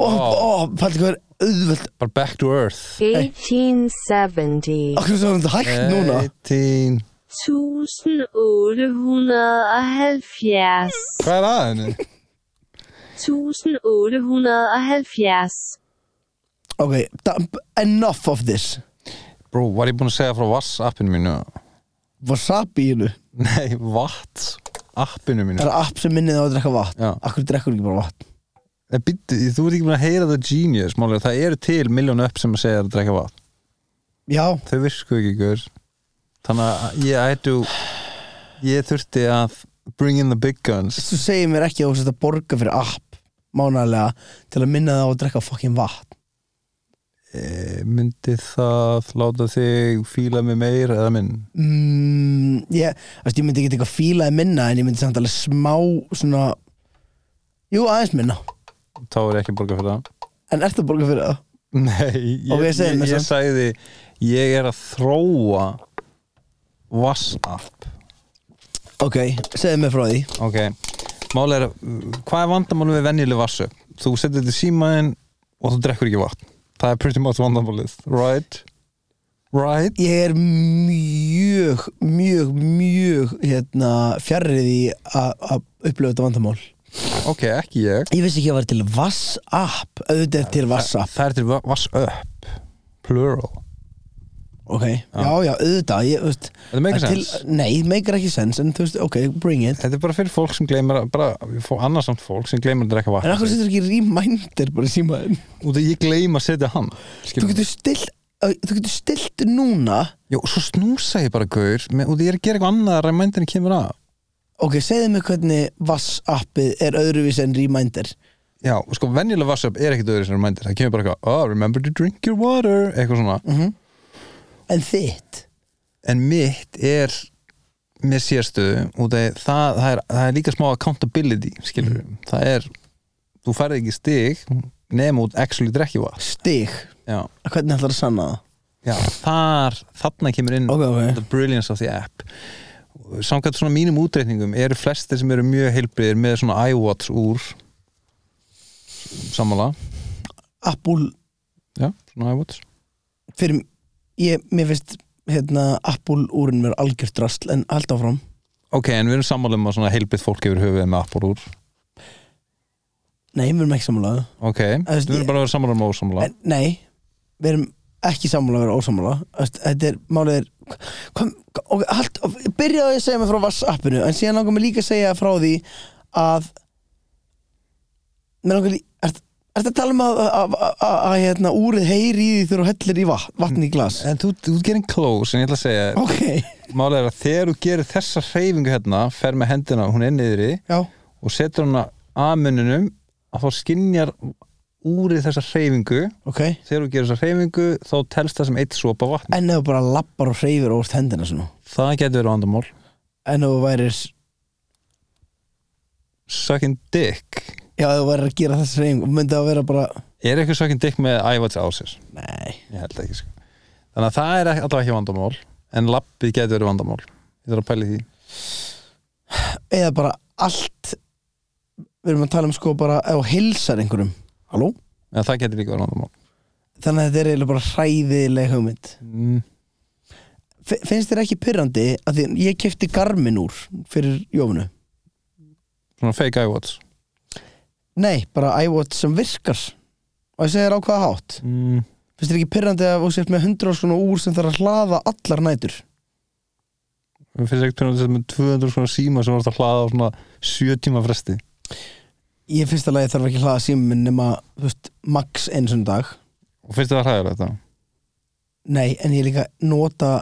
Speaker 1: Ó, ó, pælti hvað er auðvöld
Speaker 2: Bara back to earth
Speaker 6: 1870.
Speaker 1: Akkur svo er þetta hægt núna
Speaker 2: 18
Speaker 6: 1870.
Speaker 2: Hvað er að henni?
Speaker 6: 1870.
Speaker 1: Ok, da- enough of this
Speaker 2: Bro, var ég búinn að segja frá WhatsAppinu mínu?
Speaker 1: Wasabi í hennu
Speaker 2: Nei, WhatsAppinu mínu
Speaker 1: Það er app sem minnið á að drekka vatn
Speaker 2: Já.
Speaker 1: Akkur drekkur ekki bara vatn
Speaker 2: Nei, býttu, Eh, þú ert ekki búin að heyra það genius málega. Það eru til miljónu upp sem að segja að drekka vatn
Speaker 1: Já,
Speaker 2: Þau virku ekki ykkur Þannig að ég ættu Ég þurfti að bring in the big guns
Speaker 1: þú segir mér ekki að þú sett að borga fyrir app Mánalega til að minna það á að drekka fucking vatn
Speaker 2: e, Myndi það láta þig fíla mig meir eða minn
Speaker 1: mm, ég, veist, ég myndi ekki eitthvað fílaði minna en ég myndi samt alveg smá svona jú aðeins minna
Speaker 2: Þá er ég ekki að borga fyrir það
Speaker 1: en ert að borga fyrir það
Speaker 2: Nei, ég,
Speaker 1: Ok, segðu
Speaker 2: ég,
Speaker 1: mér
Speaker 2: ég
Speaker 1: samt.
Speaker 2: sagði Ég er að þróa WhatsApp
Speaker 1: ok, segðu mér frá því
Speaker 2: Ok, mál er hvað er vandamálum við venjuleg vassu? Þú setur þetta í símaðinn og þú drekkur ekki vatn Það er pretty much vandamálið, right? Right?
Speaker 1: ég er mjög mjög, mjög hérna, fjarrið í að að upplifa þetta vandamál
Speaker 2: Ok, ekki ég
Speaker 1: ég vissi ekki að það var til WhatsApp auðvitað er til WhatsApp
Speaker 2: Það er til va- vass upp Plural
Speaker 1: ok, já, já, auðvitað ég, þú veist,
Speaker 2: Þetta
Speaker 1: að
Speaker 2: meikar sens.
Speaker 1: nei, meikar ekki sens en þú veist, ok, bring it
Speaker 2: Þetta er bara fyrir fólk sem gleymar að- bara fó- annarsamt fólk sem gleymar að drekka
Speaker 1: en
Speaker 2: vatn
Speaker 1: akkur setur ekki reminder bara í símaðin
Speaker 2: Út af ég gleym að setja hann
Speaker 1: þú
Speaker 2: Skilur.
Speaker 1: getur stilt ö, þú getur stilt núna
Speaker 2: Jó, svo snúsa ég bara gaur með- út af ég er að gera eitthvað annað að remindinni kemur að
Speaker 1: Ok, segðu mig hvernig Vass-appið er öðruvísi en Reminder
Speaker 2: Já, og sko venjulega WhatsApp er ekkit öðru sem remindir Það kemur bara eitthvað, oh, remember to drink your water Eitthvað svona
Speaker 1: Mhm. En þitt
Speaker 2: En mitt er með sérstöðu út af það, það, er, það er líka smá accountability skilur
Speaker 1: Mhm.
Speaker 2: það er, þú færði ekki stig nema út actually drekki vatn
Speaker 1: Stig,
Speaker 2: já,
Speaker 1: hvernig ætlar að sanna það?
Speaker 2: já, þar, þarna kemur inn
Speaker 1: Ok, ok.
Speaker 2: the brilliance of the app samkvæmt svona mínum útreikningum eru flestir sem eru mjög heilbriðir með svona iWatch úr sammála
Speaker 1: Apple
Speaker 2: já, svona iWatch
Speaker 1: fyrir, ég, mér finnst hérna, Apple úrin mér algjört drasl en hald áfram
Speaker 2: ok, en við erum sammála um að svona heilbrið fólk yfir höfuð með Apple úr
Speaker 1: Nei, við erum ekki sammálaðu
Speaker 2: ok,
Speaker 1: Þú veist,
Speaker 2: við
Speaker 1: ég-
Speaker 2: erum bara að vera sammála um ósammála
Speaker 1: en, Nei, við erum ekki sammála að vera ósammála Þú veist, Þetta er, málið er kom, ok, hald, Byrjaðu að segja mig frá Vass-appinu en síðan langar mér líka að segja frá því að mér langar líka Er þetta að tala um að, að, að, að, að hérna, úrið heyri í því þegar þú hellir í vatn, vatn í glas?
Speaker 2: En þú, þú ert getting close, en ég ætla að segja
Speaker 1: Ok,
Speaker 2: Málið er að þegar þú gerir þessa hreyfingu hérna fer með hendina, hún er niðri
Speaker 1: já,
Speaker 2: og setur hana að munninum að þá skinjar úrið þessa hreyfingu
Speaker 1: ok
Speaker 2: þegar þú gerir þessa hreyfingu þá telst það sem eitt sopa vatn
Speaker 1: En ef þú bara lappar og hreyfir og úrst hendina svona
Speaker 2: Það getur verið vandamál
Speaker 1: en ef þú værir
Speaker 2: Sucking dick
Speaker 1: já, ef þú værir að gera þessi reyning myndi það að vera bara
Speaker 2: Er eitthvað sucking dick með ævats á sér?
Speaker 1: nei,
Speaker 2: Ég held ekki sko Þannig að það er alltaf ekki vandamál en lappið getur verið vandamál Ég þarf að pæli því
Speaker 1: eða bara allt við erum að tala um sko bara ef þú hilsar einhverjum halló,
Speaker 2: en það getur líka verið vandamál
Speaker 1: þannig að þetta er eiginlega bara hræðileg hugmynd
Speaker 2: mm.
Speaker 1: F finnst þér ekki pyrrandi að því ég kefti garmin úr fyrir jófunu
Speaker 2: Svona fake iWatch
Speaker 1: nei, bara iWatch sem virkar og ég segi þér á hvaða hátt
Speaker 2: mm.
Speaker 1: finnst þér ekki pyrrandi að þú sért með 100 svona úr sem þarf að hlaða allar nætur
Speaker 2: Mér finnst ekkert pyrrandi með 200 svona síma sem var að hlaða á svona 7 tíma fresti
Speaker 1: ég finnst alveg að ég þarf ekki að hlaða símum minn nema, þú veist, max eins og dag
Speaker 2: og finnst það hræðilegt þetta?
Speaker 1: Nei, en ég líka nota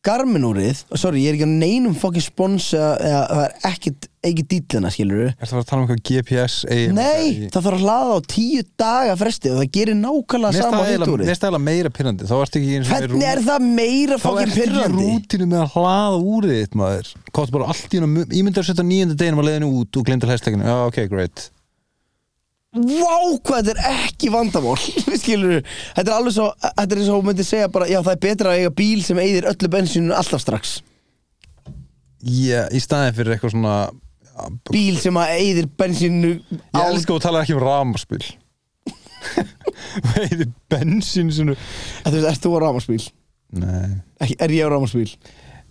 Speaker 1: Garmin-úrið og sorry, ég er ekki á neinum fokkin spons eða eða það er ekkit, ekki dýtlina, skilur
Speaker 2: Er það að tala um eitthvað GPS AM?
Speaker 1: Nei, það þarf að hlaða á tíu daga fresti og það gerir nákvæmlega sama hitt
Speaker 2: Mér
Speaker 1: úrið
Speaker 2: finnst það eiginlega meira pyrrandi þá ertu ekki eins og
Speaker 1: Hvernig er það meira
Speaker 2: Þá
Speaker 1: fokkin
Speaker 2: ertu ekki í
Speaker 1: pyrrandi?
Speaker 2: rútinu með að hlaða úrið þitt maður Kótt bara allt í hennu Ég myndi að setja nýjönda deginum að leiðinu út og glinda hlæstekinu Já, ok, great
Speaker 1: Vá, hvað þetta er ekki vandamál skilur Þetta er alveg svo, þetta er eins og hún myndi segja bara, já það er betra að eiga bíl sem eigðir öllu bensinu alltaf strax
Speaker 2: Já, í staðin fyrir eitthvað svona
Speaker 1: Bíl sem að eigðir bensinu
Speaker 2: Ég
Speaker 1: á
Speaker 2: elska og tala ekki um ramaspil Veiði bensín sinu
Speaker 1: Þú veist, ert þú á rámarsbíl?
Speaker 2: Nei
Speaker 1: Er ég á rámarsbíl?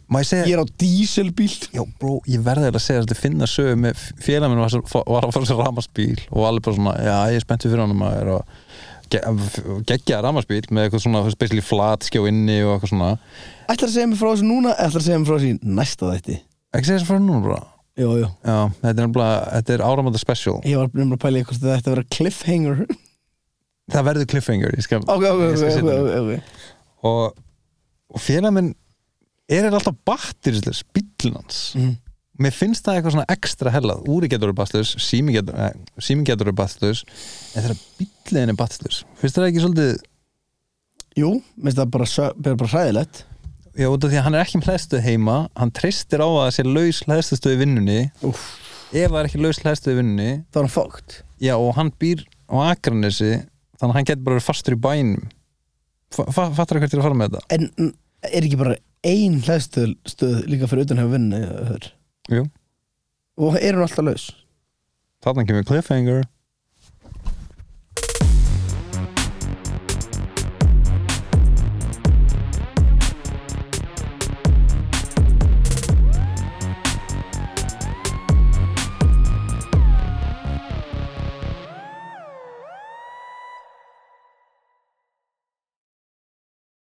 Speaker 2: Má ég segja
Speaker 1: Ég er á díselbíl
Speaker 2: Já, bró, ég verði eiginlega að segja að þetta finna sögu með félag minn var, svo- var að fara sér ramarsbíl og alveg bara svona, já, ég er spenntið fyrir honum að er að gegja ramarsbíl með eitthvað svona, þú veist, basically flat skjó inni og eitthvað svona
Speaker 1: Ætlar að segja mér frá þessu núna Ætlar að segja mér frá þessu í næsta þætti
Speaker 2: ekki segja þessu frá núna, brá
Speaker 1: Jú, jú
Speaker 2: Já, þetta er nefnilega, þetta er áramönda special
Speaker 1: Ég var nefnilega að pæla í hvort þetta ætti að vera cliffhanger
Speaker 2: Það verður cliffhanger, ég skal
Speaker 1: Ok, ok,
Speaker 2: ég
Speaker 1: ok,
Speaker 2: skal setja
Speaker 1: ok,
Speaker 2: það.
Speaker 1: ok, okay.
Speaker 2: og, og félag minn er eiginlega alltaf batterislis, bíllinn hans
Speaker 1: Mm.
Speaker 2: mér finnst það eitthvað svona ekstra hellað úri getur verið bastlus, sími getur eh, síminn getur verið bastlus en þegar bíllinn er bastlus, finnst þér það ekki svolítið
Speaker 1: Jú, minnst það bara, sö- bara, bara hræðilegt
Speaker 2: já, út af því að hann er ekki með hlæðstöð heima hann treystir á að það sé laus hlæðstöð í vinnunni
Speaker 1: Úff.
Speaker 2: ef það er ekki laus hlæðstöð í vinnunni
Speaker 1: Það var hann fókt
Speaker 2: já, og hann býr á Akranesi þannig að hann getur bara verið fastur í bænum fa fa fattar hvert ég er að fara með þetta
Speaker 1: En n- er ekki bara ein hlæðstöð stöð líka fyrir utan hefur vinnu
Speaker 2: Jú.
Speaker 1: Og er hún alltaf laus
Speaker 2: þannig kemur cliffhanger